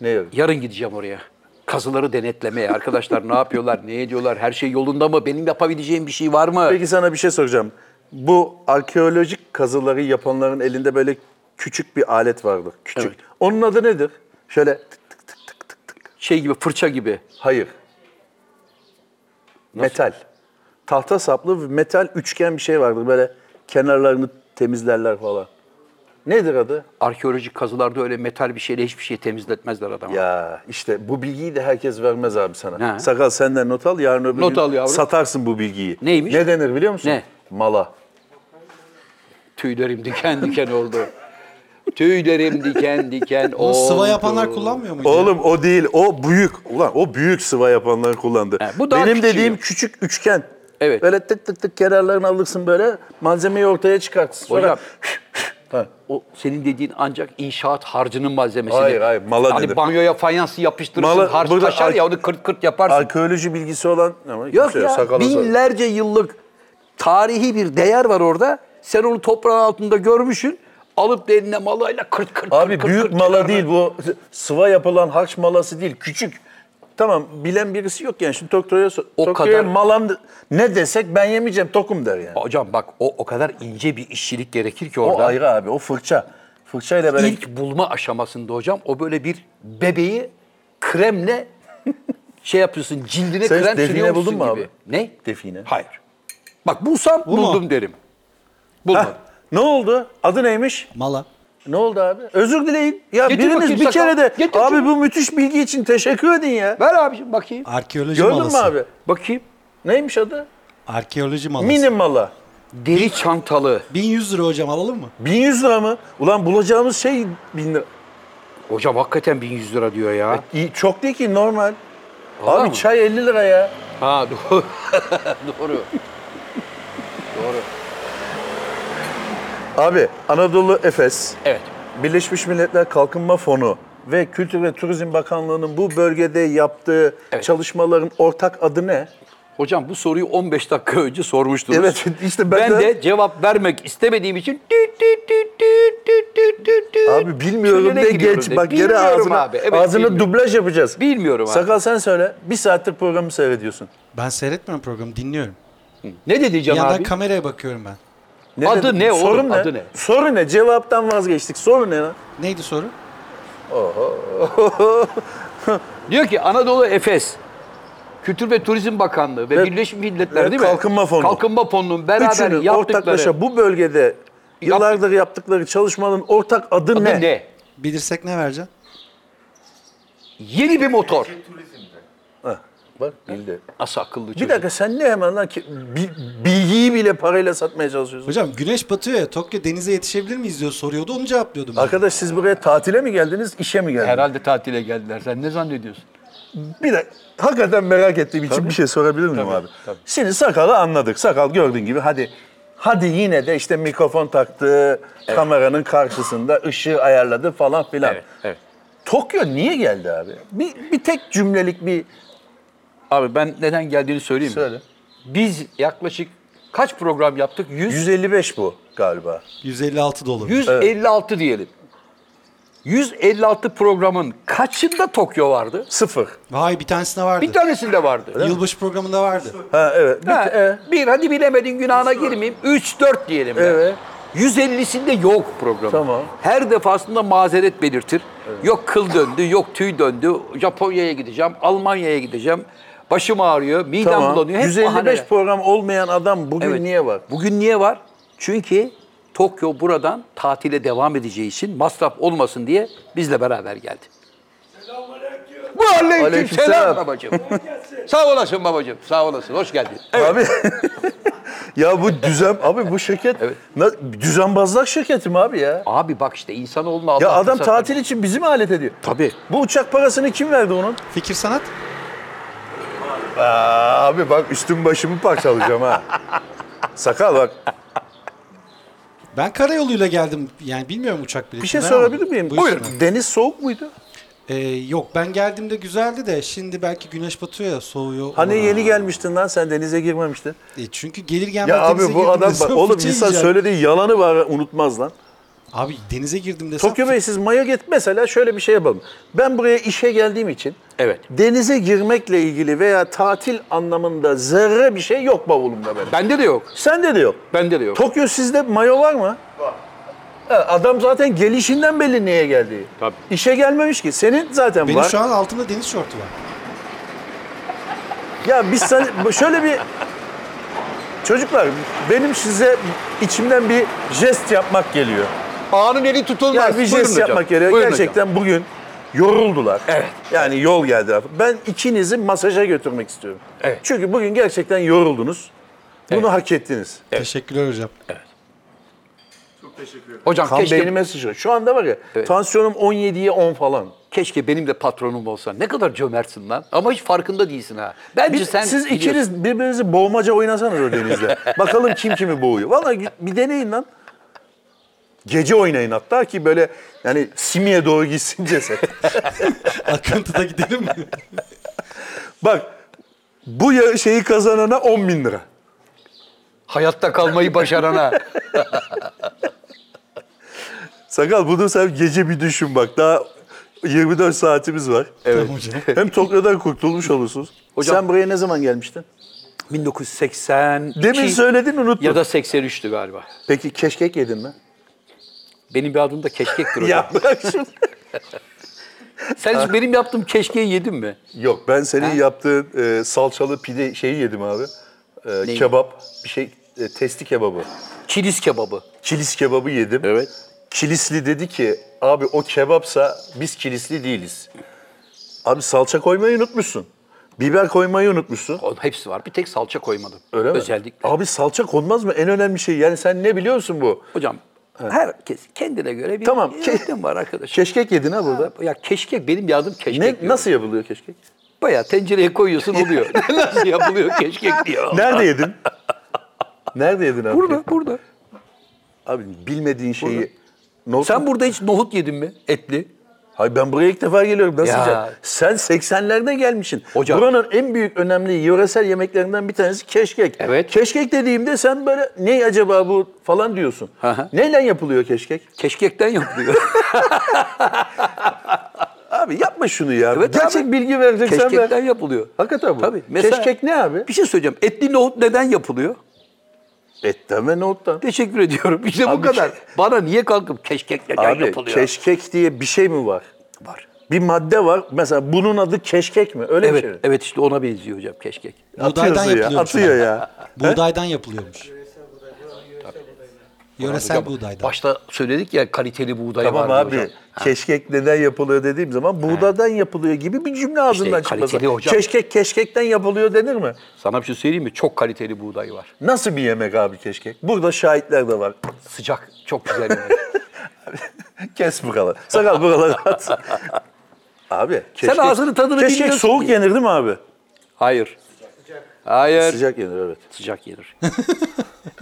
Speaker 4: Ne yarın?
Speaker 3: Yarın gideceğim oraya. Kazıları denetlemeye. Arkadaşlar ne yapıyorlar, ne ediyorlar, her şey yolunda mı, benim yapabileceğim bir şey var mı?
Speaker 4: Peki sana bir şey soracağım. Bu arkeolojik kazıları yapanların elinde böyle küçük bir alet vardır. Küçük.
Speaker 3: Evet.
Speaker 4: Onun adı nedir? Şöyle tık tık tık tık tık tık.
Speaker 3: Şey gibi, fırça gibi.
Speaker 4: Hayır. Metal. Tahta saplı ve metal üçgen bir şey vardır. Böyle kenarlarını temizlerler falan. Nedir adı?
Speaker 3: Arkeolojik kazılarda öyle metal bir şeyle hiçbir şey temizletmezler adamı.
Speaker 4: Ya işte bu bilgiyi de herkes vermez abi sana.
Speaker 3: Ne?
Speaker 4: Sakal senden not al yarın öbür
Speaker 3: Not
Speaker 4: gün
Speaker 3: al yavrum.
Speaker 4: satarsın bu bilgiyi.
Speaker 3: Neymiş?
Speaker 4: Ne denir biliyor musun?
Speaker 3: Ne?
Speaker 4: Mala.
Speaker 3: Tüylerim diken diken oldu. Tüylerim diken diken
Speaker 2: Bunu
Speaker 3: oldu.
Speaker 2: sıva yapanlar kullanmıyor muydu?
Speaker 4: Oğlum o değil o büyük. Ulan o büyük sıva yapanlar kullandı.
Speaker 3: He, bu daha
Speaker 4: Benim
Speaker 3: küçüğü.
Speaker 4: dediğim küçük üçgen.
Speaker 3: Evet.
Speaker 4: Böyle tık tık tık kenarlarını alırsın böyle malzemeyi ortaya çıkartırsın. Sonra
Speaker 3: Hocam
Speaker 4: Ha.
Speaker 3: o senin dediğin ancak inşaat harcının malzemesi.
Speaker 4: Hayır, hayır, mala
Speaker 3: hani
Speaker 4: denir.
Speaker 3: banyoya fayansı yapıştırırsın,
Speaker 4: Mala-
Speaker 3: harç
Speaker 4: burada
Speaker 3: taşar
Speaker 4: ark- Şey,
Speaker 3: ya onu kırt kırt yaparsın.
Speaker 4: arkeoloji bilgisi olan ama
Speaker 3: Yok
Speaker 4: kimse
Speaker 3: ya
Speaker 4: sakala-
Speaker 3: binlerce yıllık tarihi bir değer var orada. Sen onu toprağın altında görmüşsün. Alıp da eline malayla kırt kırt
Speaker 4: Abi
Speaker 3: kırt kırt
Speaker 4: büyük
Speaker 3: kırt
Speaker 4: mala
Speaker 3: çıkarma.
Speaker 4: değil bu sıva yapılan harç malası değil küçük. Tamam bilen birisi yok yani şimdi doktora sor.
Speaker 3: O
Speaker 4: doktoraya
Speaker 3: kadar-
Speaker 4: malan ne desek ben yemeyeceğim tokum der yani.
Speaker 3: Hocam bak o o kadar ince bir işçilik gerekir ki
Speaker 4: O
Speaker 3: orada.
Speaker 4: ayrı abi o fırça. Fırçayla böyle
Speaker 3: İlk bulma aşamasında hocam o böyle bir bebeği kremle şey yapıyorsun cildine
Speaker 4: Sen hiç
Speaker 3: krem
Speaker 4: define
Speaker 3: sürüyormuşsun
Speaker 4: buldun mu
Speaker 3: gibi.
Speaker 4: abi?
Speaker 3: Ne?
Speaker 4: define.
Speaker 3: Hayır. Bak bulsam
Speaker 2: mu?
Speaker 3: buldum derim. Bulmadım.
Speaker 4: Ne oldu? Adı neymiş?
Speaker 2: Mala.
Speaker 4: Ne oldu abi? Özür dileyin. Ya
Speaker 3: Getir bakayım
Speaker 4: biriniz bir
Speaker 3: sakal.
Speaker 4: kere de
Speaker 3: Getir
Speaker 4: abi
Speaker 3: şunu.
Speaker 4: bu müthiş bilgi için teşekkür edin ya.
Speaker 3: Ver abiciğim bakayım.
Speaker 2: Arkeoloji
Speaker 4: Gördün mü
Speaker 2: malası.
Speaker 4: abi?
Speaker 3: Bakayım.
Speaker 4: Neymiş adı?
Speaker 2: Arkeoloji malası.
Speaker 4: Mini mala.
Speaker 3: Deri çantalı.
Speaker 2: 1100 lira hocam alalım mı?
Speaker 4: 1100 lira mı? Ulan bulacağımız şey 1000 lira.
Speaker 3: Hocam hakikaten 1100 lira diyor ya.
Speaker 4: İyi, çok değil ki normal.
Speaker 3: Vallahi
Speaker 4: abi
Speaker 3: mi?
Speaker 4: çay 50 lira ya.
Speaker 3: Ha doğru. doğru.
Speaker 4: Abi Anadolu Efes,
Speaker 3: Evet.
Speaker 4: Birleşmiş Milletler Kalkınma Fonu ve Kültür ve Turizm Bakanlığı'nın bu bölgede yaptığı
Speaker 3: Evet.
Speaker 4: çalışmaların ortak adı ne?
Speaker 3: Hocam bu soruyu 15 dakika önce sormuştunuz.
Speaker 4: Evet, işte ben
Speaker 3: ben
Speaker 4: de-
Speaker 3: de... cevap vermek istemediğim için düt düt düt düt düt düt düt düt.
Speaker 4: Abi bilmiyorum
Speaker 3: Tünele
Speaker 4: de
Speaker 3: giriyorum
Speaker 4: geç.
Speaker 3: de.
Speaker 4: Bak geri
Speaker 3: Bilmiyorum
Speaker 4: ağzına,
Speaker 3: abi, evet,
Speaker 4: ağzına
Speaker 3: bilmiyorum.
Speaker 4: dublaj yapacağız.
Speaker 3: Bilmiyorum abi.
Speaker 4: Sakal sen söyle. Bir saattir programı seyrediyorsun.
Speaker 2: Ben seyretmiyorum programı dinliyorum.
Speaker 3: Ne dedi
Speaker 2: Bir
Speaker 3: Can
Speaker 2: yandan
Speaker 3: abi?
Speaker 2: kameraya bakıyorum ben.
Speaker 4: Ne
Speaker 3: Adı ne oğlum,
Speaker 4: Sorun
Speaker 3: adı ne?
Speaker 4: Soru ne? Cevaptan vazgeçtik. Soru ne lan?
Speaker 2: Neydi soru?
Speaker 3: Diyor ki Anadolu Efes Kültür ve Turizm Bakanlığı ve,
Speaker 4: Ve-
Speaker 3: Birleşmiş Milletler
Speaker 4: ve
Speaker 3: değil mi?
Speaker 4: Kalkınma Fonu.
Speaker 3: Kalkınma Fonu'nun beraber
Speaker 4: Üçünün
Speaker 3: yaptıkları
Speaker 4: ortaklaşa bu bölgede yıllardır yaptıkları çalışmanın ortak adı,
Speaker 3: adı
Speaker 4: ne?
Speaker 3: ne?
Speaker 2: Bilirsek ne vereceksin?
Speaker 3: Yeni bir motor.
Speaker 4: Heh, bak bildi.
Speaker 3: Nasıl akıllı çocuk.
Speaker 4: Bir dakika sen ne hemen lan ki bi- bilgiyi bile parayla satmaya çalışıyorsun?
Speaker 2: Hocam güneş batıyor ya Tokyo denize yetişebilir miyiz diyor soruyordu onu cevaplıyordum ben.
Speaker 4: Arkadaş siz buraya tatile mi geldiniz, işe mi geldiniz?
Speaker 5: Herhalde tatile geldiler. Sen ne zannediyorsun?
Speaker 4: Bir de hakikaten merak ettiğim için bir şey sorabilir miyim abi? Şimdi sakalı anladık. Sakal gördüğün gibi hadi hadi yine de işte mikrofon taktı, kameranın karşısında ışığı ayarladı falan filan.
Speaker 3: Evet, evet.
Speaker 4: Tokyo niye geldi abi? Bir, bir tek cümlelik bir
Speaker 3: Abi ben neden geldiğini söyleyeyim mi?
Speaker 4: Söyle.
Speaker 3: Biz yaklaşık kaç program yaptık? 100,
Speaker 4: 155 bu galiba.
Speaker 2: 156 dolar.
Speaker 3: 156 diyelim. 156 programın kaçında Tokyo vardı?
Speaker 4: Sıfır.
Speaker 2: Vay bir tanesine vardı.
Speaker 3: Bir tanesinde vardı.
Speaker 2: Yılbaşı programında vardı.
Speaker 4: Ha evet. Bir,
Speaker 3: Ha,
Speaker 4: e,
Speaker 3: bir hadi bilemedin günahına girmeyeyim. 3-4 diyelim. ben.
Speaker 4: Evet.
Speaker 3: 150'sinde yok programı.
Speaker 4: Tamam.
Speaker 3: Her defasında mazeret belirtir. Yok kıl döndü, yok tüy döndü. Japonya'ya gideceğim, Almanya'ya gideceğim. Başım ağrıyor, midem
Speaker 4: tamam.
Speaker 3: bulanıyor. Hep
Speaker 4: 155
Speaker 3: bahaneler.
Speaker 4: program olmayan adam bugün
Speaker 3: Evet.
Speaker 4: niye var?
Speaker 3: Bugün niye var? Çünkü Tokyo buradan tatile devam edeceği için masraf olmasın diye bizle beraber geldi. Selamünaleyküm. Aleyküm selam
Speaker 4: Aleykümselam.
Speaker 3: babacığım. Sağ olasın babacığım. Sağ olasın. Hoş geldin. Evet.
Speaker 4: Abi ya bu düzen abi bu şirket
Speaker 3: Evet.
Speaker 4: na- düzenbazlık şirketi mi abi ya?
Speaker 3: Abi bak işte insanoğluna Allah
Speaker 4: Ya adam
Speaker 3: fırsat
Speaker 4: tatil için bizi mi alet ediyor?
Speaker 3: Tabii.
Speaker 4: Bu uçak parasını kim verdi onun?
Speaker 2: Fikir sanat.
Speaker 4: Aa, abi bak üstüm başımı parçalayacağım ha. Sakal bak.
Speaker 2: Ben karayoluyla geldim. Yani bilmiyorum uçak bileti.
Speaker 4: Bir şey sorabilir miyim? Deniz soğuk muydu?
Speaker 2: Ee, yok ben geldiğimde güzeldi de şimdi belki güneş batıyor ya soğuyor.
Speaker 4: Hani
Speaker 2: Ona-
Speaker 4: yeni gelmiştin lan sen denize girmemiştin.
Speaker 2: E, çünkü gelir gelmez
Speaker 4: Ya
Speaker 2: denize
Speaker 4: abi bu
Speaker 2: girdim
Speaker 4: adam
Speaker 2: desem
Speaker 4: bak oğlum
Speaker 2: fıçı
Speaker 4: insan
Speaker 2: yiyeceğim.
Speaker 4: söylediği yalanı var unutmaz lan.
Speaker 2: Abi denize girdim desem
Speaker 4: Tokyo Bey siz maya git mesela şöyle bir şey yapalım. Ben buraya işe geldiğim için
Speaker 3: Evet.
Speaker 4: denize girmekle ilgili veya tatil anlamında zerre bir şey yok bavulumda benim.
Speaker 3: Bende de yok.
Speaker 4: Sende de yok.
Speaker 3: Bende de yok.
Speaker 4: Tokyo sizde mayo var mı? Var. Adam zaten gelişinden belli neye geldiği.
Speaker 3: Tabii.
Speaker 4: İşe gelmemiş ki. Senin zaten
Speaker 2: benim
Speaker 4: var.
Speaker 2: şu an altımda deniz şortu var.
Speaker 4: Ya biz sen şöyle bir Çocuklar benim size içimden bir jest yapmak geliyor.
Speaker 5: Ağanın eli tutulmaz.
Speaker 4: Yani bir
Speaker 5: Buyurun
Speaker 4: jest
Speaker 5: hocam.
Speaker 4: yapmak gerekiyor.
Speaker 5: Buyurun hocam.
Speaker 4: Gerçekten bugün yoruldular. Evet. Yani yol geldi. Ben ikinizi masaja götürmek istiyorum.
Speaker 3: Evet.
Speaker 4: Çünkü bugün gerçekten yoruldunuz. Bunu hak ettiniz.
Speaker 2: Teşekkürler hocam.
Speaker 3: Hocam
Speaker 4: Kan
Speaker 3: keşke,
Speaker 4: beynime sıçrıyor. Şu anda var ya
Speaker 3: Evet.
Speaker 4: tansiyonum 17'ye 10 falan.
Speaker 3: keşke benim de patronum olsa. Ne kadar cömertsin lan. Ama hiç farkında değilsin ha. Bence
Speaker 4: Bir-
Speaker 3: sen
Speaker 4: siz
Speaker 3: biliyorsun.
Speaker 4: ikiniz birbirinizi boğmaca oynasanız o denizde. Bakalım kim kimi boğuyor. Vallahi gü- bir deneyin lan. Gece oynayın hatta ki böyle yani simiye doğru gitsin ceset.
Speaker 2: Akıntıda gidelim mi?
Speaker 4: Bak bu ya- şeyi kazanana 10 bin lira.
Speaker 3: hayatta kalmayı başarana.
Speaker 4: Sakal bunu sen gece bir düşün bak. Daha 24 saatimiz var.
Speaker 2: Tamam hocam.
Speaker 4: Hem Tokyo'dan kurtulmuş olursunuz. Sen buraya ne zaman gelmiştin?
Speaker 3: 1980
Speaker 4: Demin söyledin unuttun.
Speaker 3: ya da 83'tü galiba.
Speaker 4: Peki keşkek yedin mi?
Speaker 3: Benim bir adım da keşkektir hocam.
Speaker 4: Ya bırak şunu.
Speaker 3: Sen hiç benim yaptığım keşkeyi yedin mi?
Speaker 4: Yok ben senin yaptığın e, salçalı pide şeyi yedim abi. E, kebap bir şey e, testi kebabı.
Speaker 3: Çiliz kebabı.
Speaker 4: Kilis kebabı yedim.
Speaker 3: Evet.
Speaker 4: Kilisli dedi ki abi o kebapsa biz kilisli değiliz. Abi salça koymayı unutmuşsun. Biber koymayı unutmuşsun.
Speaker 3: Oğlum hepsi var. Bir tek salça koymadım.
Speaker 4: Öyle mi?
Speaker 3: Özellikle.
Speaker 4: Abi salça konmaz mı? En önemli şey. Yani sen ne biliyorsun bu?
Speaker 3: Hocam herkes kendine göre bir
Speaker 4: Tamam,
Speaker 3: tamam.
Speaker 4: ke-
Speaker 3: var arkadaş.
Speaker 4: Keşkek yedin ha burada.
Speaker 3: ya keşkek benim yardım keşkek.
Speaker 4: Ne,
Speaker 3: diyorum.
Speaker 4: nasıl yapılıyor keşkek?
Speaker 3: Bayağı tencereye koyuyorsun oluyor. nasıl yapılıyor keşkek diyor.
Speaker 4: Nerede yedin? Nerede yedin abi?
Speaker 3: Burada, burada.
Speaker 4: Abi bilmediğin şeyi... Not-
Speaker 3: Sen burada hiç nohut yedin mi? Etli.
Speaker 4: Hayır ben buraya ilk defa geliyorum. Nasıl
Speaker 3: Ya.
Speaker 4: yiyeceğim? Sen 80'lerde gelmişsin.
Speaker 3: Hocam.
Speaker 4: Buranın en büyük önemli yöresel yemeklerinden bir tanesi keşkek.
Speaker 3: Evet.
Speaker 4: Keşkek dediğimde sen böyle ne acaba bu falan diyorsun.
Speaker 3: Hı hı.
Speaker 4: Neyle yapılıyor keşkek?
Speaker 3: Keşkekten yapılıyor.
Speaker 4: Abi yapma şunu ya.
Speaker 3: Evet
Speaker 4: Gerçek
Speaker 3: abi.
Speaker 4: bilgi vereceksen
Speaker 3: Keşkekten
Speaker 4: ver.
Speaker 3: yapılıyor.
Speaker 4: Hakikaten bu.
Speaker 3: Tabii. Mesela-
Speaker 4: Keşkek ne abi?
Speaker 3: Bir şey söyleyeceğim. Etli nohut neden yapılıyor?
Speaker 4: Etten ve nohuttan.
Speaker 3: Teşekkür ediyorum. İşte bu
Speaker 4: Abi-
Speaker 3: kadar. Bana niye kalkıp keşkek neden
Speaker 4: Abi
Speaker 3: yapılıyor?
Speaker 4: keşkek diye bir şey mi var?
Speaker 3: var.
Speaker 4: Bir madde var. Mesela bunun adı keşkek mi? Öyle bir
Speaker 3: Evet,
Speaker 4: şey mi?
Speaker 3: evet işte ona benziyor hocam keşkek.
Speaker 2: Buğdaydan
Speaker 4: Atıyoruz ya,
Speaker 2: yapılıyormuş.
Speaker 4: atıyor
Speaker 2: ama.
Speaker 4: ya.
Speaker 2: Buğdaydan yapılıyormuş. Yöresel buğdaydan.
Speaker 3: Başta söyledik ya kaliteli buğday
Speaker 4: Tamam
Speaker 3: var diye
Speaker 4: abi.
Speaker 3: hocam.
Speaker 4: Keşkek neden yapılıyor dediğim zaman buğdadan yapılıyor gibi bir cümle ağzından çıkması.
Speaker 3: kaliteli hocam.
Speaker 4: Keşkek keşkekten yapılıyor denir mi?
Speaker 3: Sana bir şey söyleyeyim mi? Çok kaliteli buğday var.
Speaker 4: Nasıl bir yemek abi keşkek? Burada şahitler de var.
Speaker 3: Sıcak, çok güzel yemek.
Speaker 4: Kes buraları. Sakal buraları at. Abi keşkek,
Speaker 3: ağzının tadını
Speaker 4: keşkek
Speaker 3: bilmiyorsun
Speaker 4: soğuk
Speaker 3: ki.
Speaker 4: yenir değil mi abi?
Speaker 3: Hayır. Hayır. Sıcak,
Speaker 4: Sıcak yenir evet.
Speaker 3: yenir.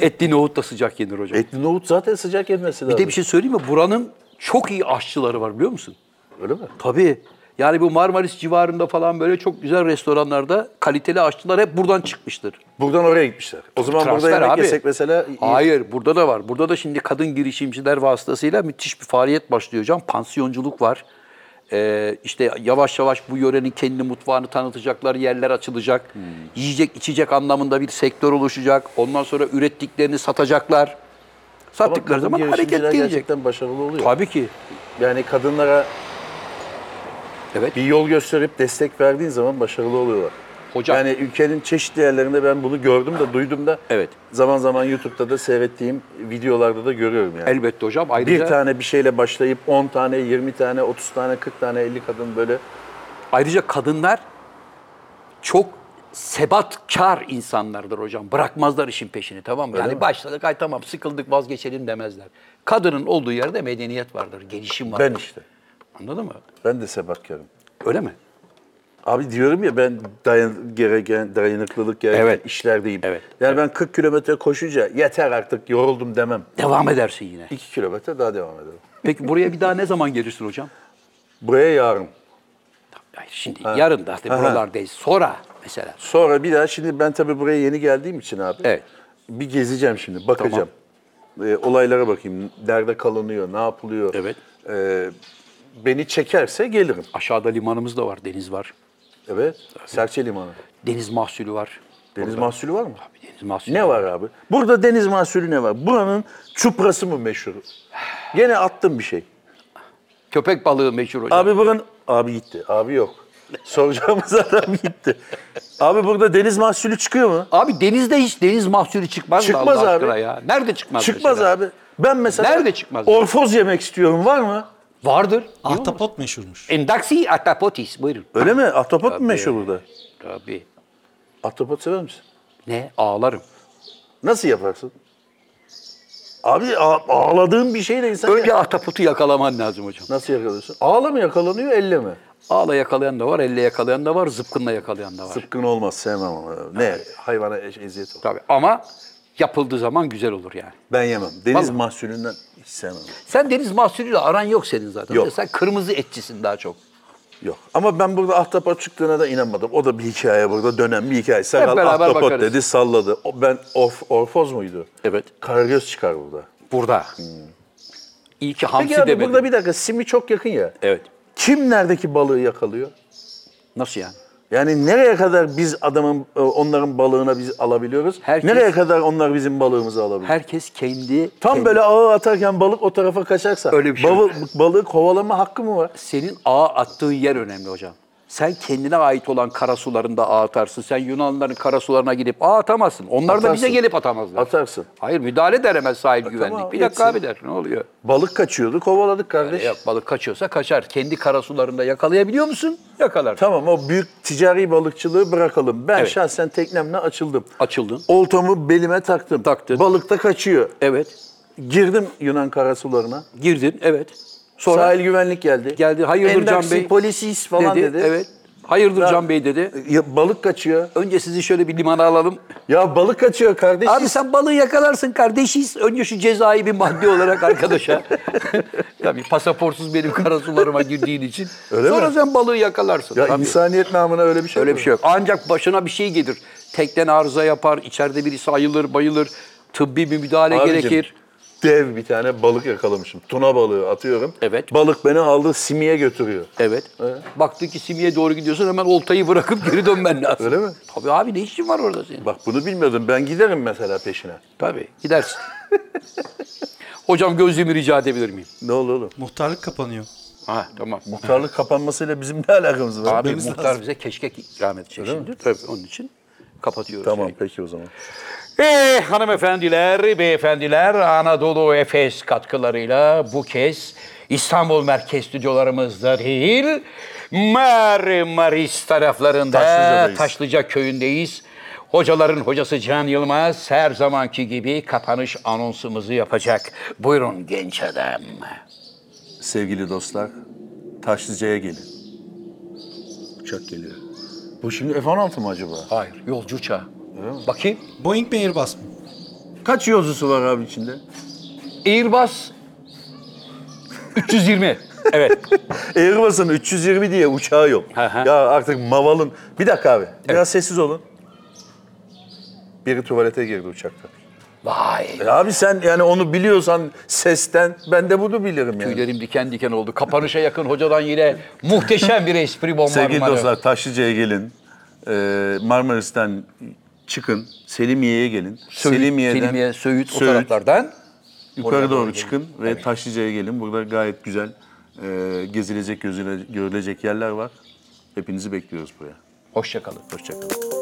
Speaker 3: Etli nohut da sıcak yenir hocam.
Speaker 4: Etli nohut zaten sıcak yenmesi lazım.
Speaker 3: Bir de bir şey söyleyeyim mi? Buranın çok iyi aşçıları var biliyor musun?
Speaker 4: Öyle mi?
Speaker 3: Tabii. Yani bu Marmaris civarında falan böyle çok güzel restoranlarda kaliteli aşçılar hep buradan çıkmıştır.
Speaker 4: Buradan oraya gitmişler. O zaman burada
Speaker 3: Transfer
Speaker 4: yemek
Speaker 3: abi.
Speaker 4: yesek mesela iyi.
Speaker 3: Hayır, burada da var. Burada da şimdi kadın girişimciler vasıtasıyla müthiş bir faaliyet başlıyor hocam. Pansiyonculuk var. Ee, işte yavaş yavaş bu yörenin kendi mutfağını tanıtacaklar, yerler açılacak.
Speaker 4: Hmm.
Speaker 3: Yiyecek, içecek anlamında bir sektör oluşacak. Ondan sonra ürettiklerini satacaklar.
Speaker 4: Ama
Speaker 3: Sattıkları
Speaker 4: kadın
Speaker 3: zaman hareket
Speaker 4: girişimciler
Speaker 3: gelecek.
Speaker 4: gerçekten başarılı oluyor.
Speaker 3: Tabii ki.
Speaker 4: Yani kadınlara
Speaker 3: Evet.
Speaker 4: bir yol gösterip destek verdiğin zaman başarılı oluyorlar.
Speaker 3: Hocam.
Speaker 4: Yani ülkenin çeşitli yerlerinde ben bunu gördüm de duydum da
Speaker 3: Evet.
Speaker 4: zaman zaman YouTube'da da seyrettiğim videolarda da görüyorum yani.
Speaker 3: Elbette hocam.
Speaker 4: bir
Speaker 3: Ayrıca
Speaker 4: tane bir şeyle başlayıp 10 tane, 20 tane, 30 tane, 40 tane, 50 kadın böyle
Speaker 3: Ayrıca kadınlar çok sebatkar insanlardır hocam. Bırakmazlar işin peşini tamam mı? yani başladık ay tamam sıkıldık vazgeçelim demezler. Kadının olduğu yerde medeniyet vardır, gelişim vardır.
Speaker 4: ben işte.
Speaker 3: Anladın mı?
Speaker 4: Ben de sebatkarım.
Speaker 3: Öyle mi?
Speaker 4: Abi diyorum ya ben dayan, gereken, dayanıklılık gereken
Speaker 3: Evet.
Speaker 4: işlerdeyim.
Speaker 3: Evet.
Speaker 4: Yani ben 40 kilometre koşunca yeter artık yoruldum demem.
Speaker 3: Devam edersin yine.
Speaker 4: 2 kilometre daha devam ederim.
Speaker 3: Peki buraya bir daha ne zaman gelirsin hocam?
Speaker 4: Buraya yarın.
Speaker 3: Hayır, şimdi yarın da işte buralardayız. Sonra mesela.
Speaker 4: Sonra bir daha şimdi ben tabii buraya yeni geldiğim için abi.
Speaker 3: Evet.
Speaker 4: Bir gezeceğim şimdi, bakacağım. Ee, olaylara bakayım. Nerede kalınıyor, ne yapılıyor.
Speaker 3: Evet.
Speaker 4: Ee, beni çekerse gelirim.
Speaker 3: Aşağıda limanımız da var, deniz var.
Speaker 4: Evet. Serçe Limanı.
Speaker 3: Deniz mahsulü var.
Speaker 4: Deniz mahsulü var mı?
Speaker 3: Deniz mahsulü.
Speaker 4: Ne var abi? Burada deniz mahsulü ne var? Buranın çuprası mı meşhur? Gene attım bir şey.
Speaker 3: Köpek balığı meşhur hocam.
Speaker 4: Abi buranın... Abi gitti. Abi yok. Soracağımız adam gitti. Abi burada deniz mahsulü çıkıyor mu?
Speaker 3: Abi denizde hiç deniz mahsulü çıkmaz, mı
Speaker 4: Çıkmaz
Speaker 3: Allah
Speaker 4: abi.
Speaker 3: aşkına ya? Nerede çıkmaz
Speaker 4: Çıkmaz
Speaker 3: mesela?
Speaker 4: abi. Ben mesela
Speaker 3: Nerede çıkmaz?
Speaker 4: Orfoz yemek istiyorum var mı?
Speaker 3: Vardır.
Speaker 2: Ahtapot meşhurmuş.
Speaker 3: Endaksi atapotis. Buyurun.
Speaker 4: Öyle mi? Ahtapot mu meşhur burada?
Speaker 3: Tabii.
Speaker 4: Ahtapot sever misin?
Speaker 3: Ne? Ağlarım.
Speaker 4: Nasıl yaparsın? Abi a- ağladığın bir şeyle insan
Speaker 3: Önce ahtapotu yakalaman lazım hocam.
Speaker 4: nasıl yakalıyorsun? Ağla mı yakalanıyor, elle mi?
Speaker 3: Ağla yakalayan da var, elle yakalayan da var, zıpkınla yakalayan da var.
Speaker 4: Sıpkın olmaz, sevmem onu. Ne? Hayvana eş- eziyet olur.
Speaker 3: Tabii ama yapıldığı zaman güzel olur yani.
Speaker 4: Ben yemem. Deniz
Speaker 3: Vallahi.
Speaker 4: mahsulünden hiç sevmem.
Speaker 3: Sen deniz mahsulüyle aran yok senin zaten.
Speaker 4: Yok.
Speaker 3: Sen kırmızı etçisin daha çok.
Speaker 4: Yok. Ama ben burada ahtapot çıktığına da inanmadım. O da bir hikaye burada dönen bir hikaye. Sakal
Speaker 3: beraber
Speaker 4: ahtapot
Speaker 3: bakarız.
Speaker 4: dedi salladı. O, ben orf, orfoz muydu?
Speaker 3: Evet.
Speaker 4: Karagöz çıkar burada.
Speaker 3: Burada. İyi ki hamsi
Speaker 4: Hmm. Peki abi
Speaker 3: demedin.
Speaker 4: burada bir dakika simi çok yakın ya.
Speaker 3: Evet.
Speaker 4: Kim neredeki balığı yakalıyor?
Speaker 3: Nasıl yani?
Speaker 4: Yani nereye kadar biz adamın e, onların balığına biz alabiliyoruz?
Speaker 3: Herkes-
Speaker 4: Nereye kadar onlar bizim balığımızı alabiliyor?
Speaker 3: Herkes kendi...
Speaker 4: Tam
Speaker 3: kendi-
Speaker 4: böyle ağı atarken balık o tarafa kaçarsa
Speaker 3: Öyle bir şey
Speaker 4: balı- balığı kovalama hakkı mı var?
Speaker 3: senin ağa attığın yer önemli hocam. Sen kendine ait olan karasularında ağ atarsın. Sen Yunanların karasularına gidip ağ atamazsın. Onlar da bize
Speaker 4: Atarsın. gelip
Speaker 3: gelip atamazlar.
Speaker 4: Atarsın.
Speaker 3: Hayır müdahale der hemen sahip güvenlik.
Speaker 4: tamam,
Speaker 3: bir dakika
Speaker 4: etsin.
Speaker 3: abi der. Ne oluyor?
Speaker 4: Balık kaçıyordu, kovaladık kardeş.
Speaker 3: Yok balık kaçıyorsa kaçar. Kendi karasularında yakalayabiliyor musun? Yakalar.
Speaker 4: Tamam o büyük ticari balıkçılığı bırakalım. Ben
Speaker 3: Evet.
Speaker 4: şahsen teknemle açıldım.
Speaker 3: Açıldın.
Speaker 4: Oltamı belime taktım.
Speaker 3: Taktın.
Speaker 4: Balık da kaçıyor.
Speaker 3: Evet.
Speaker 4: Girdim Yunan karasularına.
Speaker 3: Girdin. Evet. Sonra
Speaker 4: Sahil güvenlik geldi.
Speaker 3: geldi. Hayırdır Can
Speaker 4: Endaksin
Speaker 3: Bey?
Speaker 4: polisiz falan dedi.
Speaker 3: Evet. Hayırdır
Speaker 4: Ben-
Speaker 3: Can Bey dedi.
Speaker 4: Ya, balık kaçıyor.
Speaker 3: Önce sizi şöyle bir limana alalım.
Speaker 4: Ya balık kaçıyor kardeş.
Speaker 3: Abi sen balığı yakalarsın kardeşiz. Önce şu cezayı bir maddi olarak arkadaşa. Tabii pasaportsuz benim karasularıma girdiğin için.
Speaker 4: Öyle
Speaker 3: Sonra
Speaker 4: mi?
Speaker 3: sen balığı yakalarsın.
Speaker 4: Ya
Speaker 3: Tabii.
Speaker 4: insaniyet namına öyle bir şey
Speaker 3: Öyle
Speaker 4: mi?
Speaker 3: bir şey yok. Ancak başına bir şey gelir. Tekten arıza yapar, içeride birisi ayılır, bayılır. Tıbbi bir müdahale
Speaker 4: Abicim,
Speaker 3: gerekir.
Speaker 4: Dev bir tane balık yakalamışım. Tuna balığı atıyorum.
Speaker 3: Evet.
Speaker 4: Balık beni aldı simiye götürüyor.
Speaker 3: Evet. Baktı ki simiye doğru gidiyorsun hemen oltayı bırakıp geri dönmen lazım.
Speaker 4: Öyle mi?
Speaker 3: Tabii abi ne işin var orada senin?
Speaker 4: Bak bunu bilmiyordum. Ben giderim mesela peşine.
Speaker 3: Tabii gidersin. Hocam gözlüğümü rica edebilir miyim?
Speaker 4: Ne olur oğlum?
Speaker 2: Muhtarlık kapanıyor.
Speaker 3: Ha tamam.
Speaker 4: Muhtarlık kapanmasıyla bizim ne alakamız var?
Speaker 3: Abi
Speaker 2: Gitmemiz
Speaker 3: muhtar
Speaker 2: lazım.
Speaker 3: bize keşkek ikram edecek şimdi. Tabii onun için kapatıyoruz.
Speaker 4: Tamam
Speaker 3: yayını.
Speaker 4: peki o zaman.
Speaker 3: Ee, hanımefendiler, beyefendiler Anadolu Efes katkılarıyla bu kez İstanbul merkez stüdyolarımızda değil, Marmaris taraflarında
Speaker 4: Taşlıca'dayız.
Speaker 3: Taşlıca köyündeyiz. Hocaların hocası Can Yılmaz her zamanki gibi kapanış anonsumuzu yapacak. Buyurun genç adam.
Speaker 4: Sevgili dostlar, Taşlıca'ya gelin. Uçak geliyor. Bu şimdi F-16 mı acaba?
Speaker 3: Hayır, yolcu uçağı. Bakayım.
Speaker 2: Boeing mi Airbus mu?
Speaker 4: Kaç yolcusu var abi içinde?
Speaker 3: Airbus 320. Evet.
Speaker 4: Airbus'un 320 diye uçağı yok.
Speaker 3: hı.
Speaker 4: ya artık Maval'ın... Bir dakika abi. Biraz sessiz olun. Biri tuvalete girdi uçakta.
Speaker 3: Vay.
Speaker 4: E abi sen yani onu biliyorsan sesten ben de bunu bilirim yani.
Speaker 3: Tüylerim diken diken oldu. Kapanışa yakın hocadan yine muhteşem bir espri bombardımanı.
Speaker 4: Sevgili dostlar Taşlıca'ya gelin. Ee, Marmaris'ten çıkın. Selimiye'ye gelin.
Speaker 3: Söğüt,
Speaker 4: Selimiye'den
Speaker 3: Selimiye, Söğüt, o
Speaker 4: Söğüt,
Speaker 3: taraflardan.
Speaker 4: yukarı
Speaker 3: Oraya doğru
Speaker 4: doğru
Speaker 3: gelin.
Speaker 4: çıkın ve Taşlıca'ya gelin. Burada gayet güzel e, gezilecek, gözüle- görülecek yerler var. Hepinizi bekliyoruz buraya.
Speaker 3: Hoşçakalın.
Speaker 4: Hoşçakalın.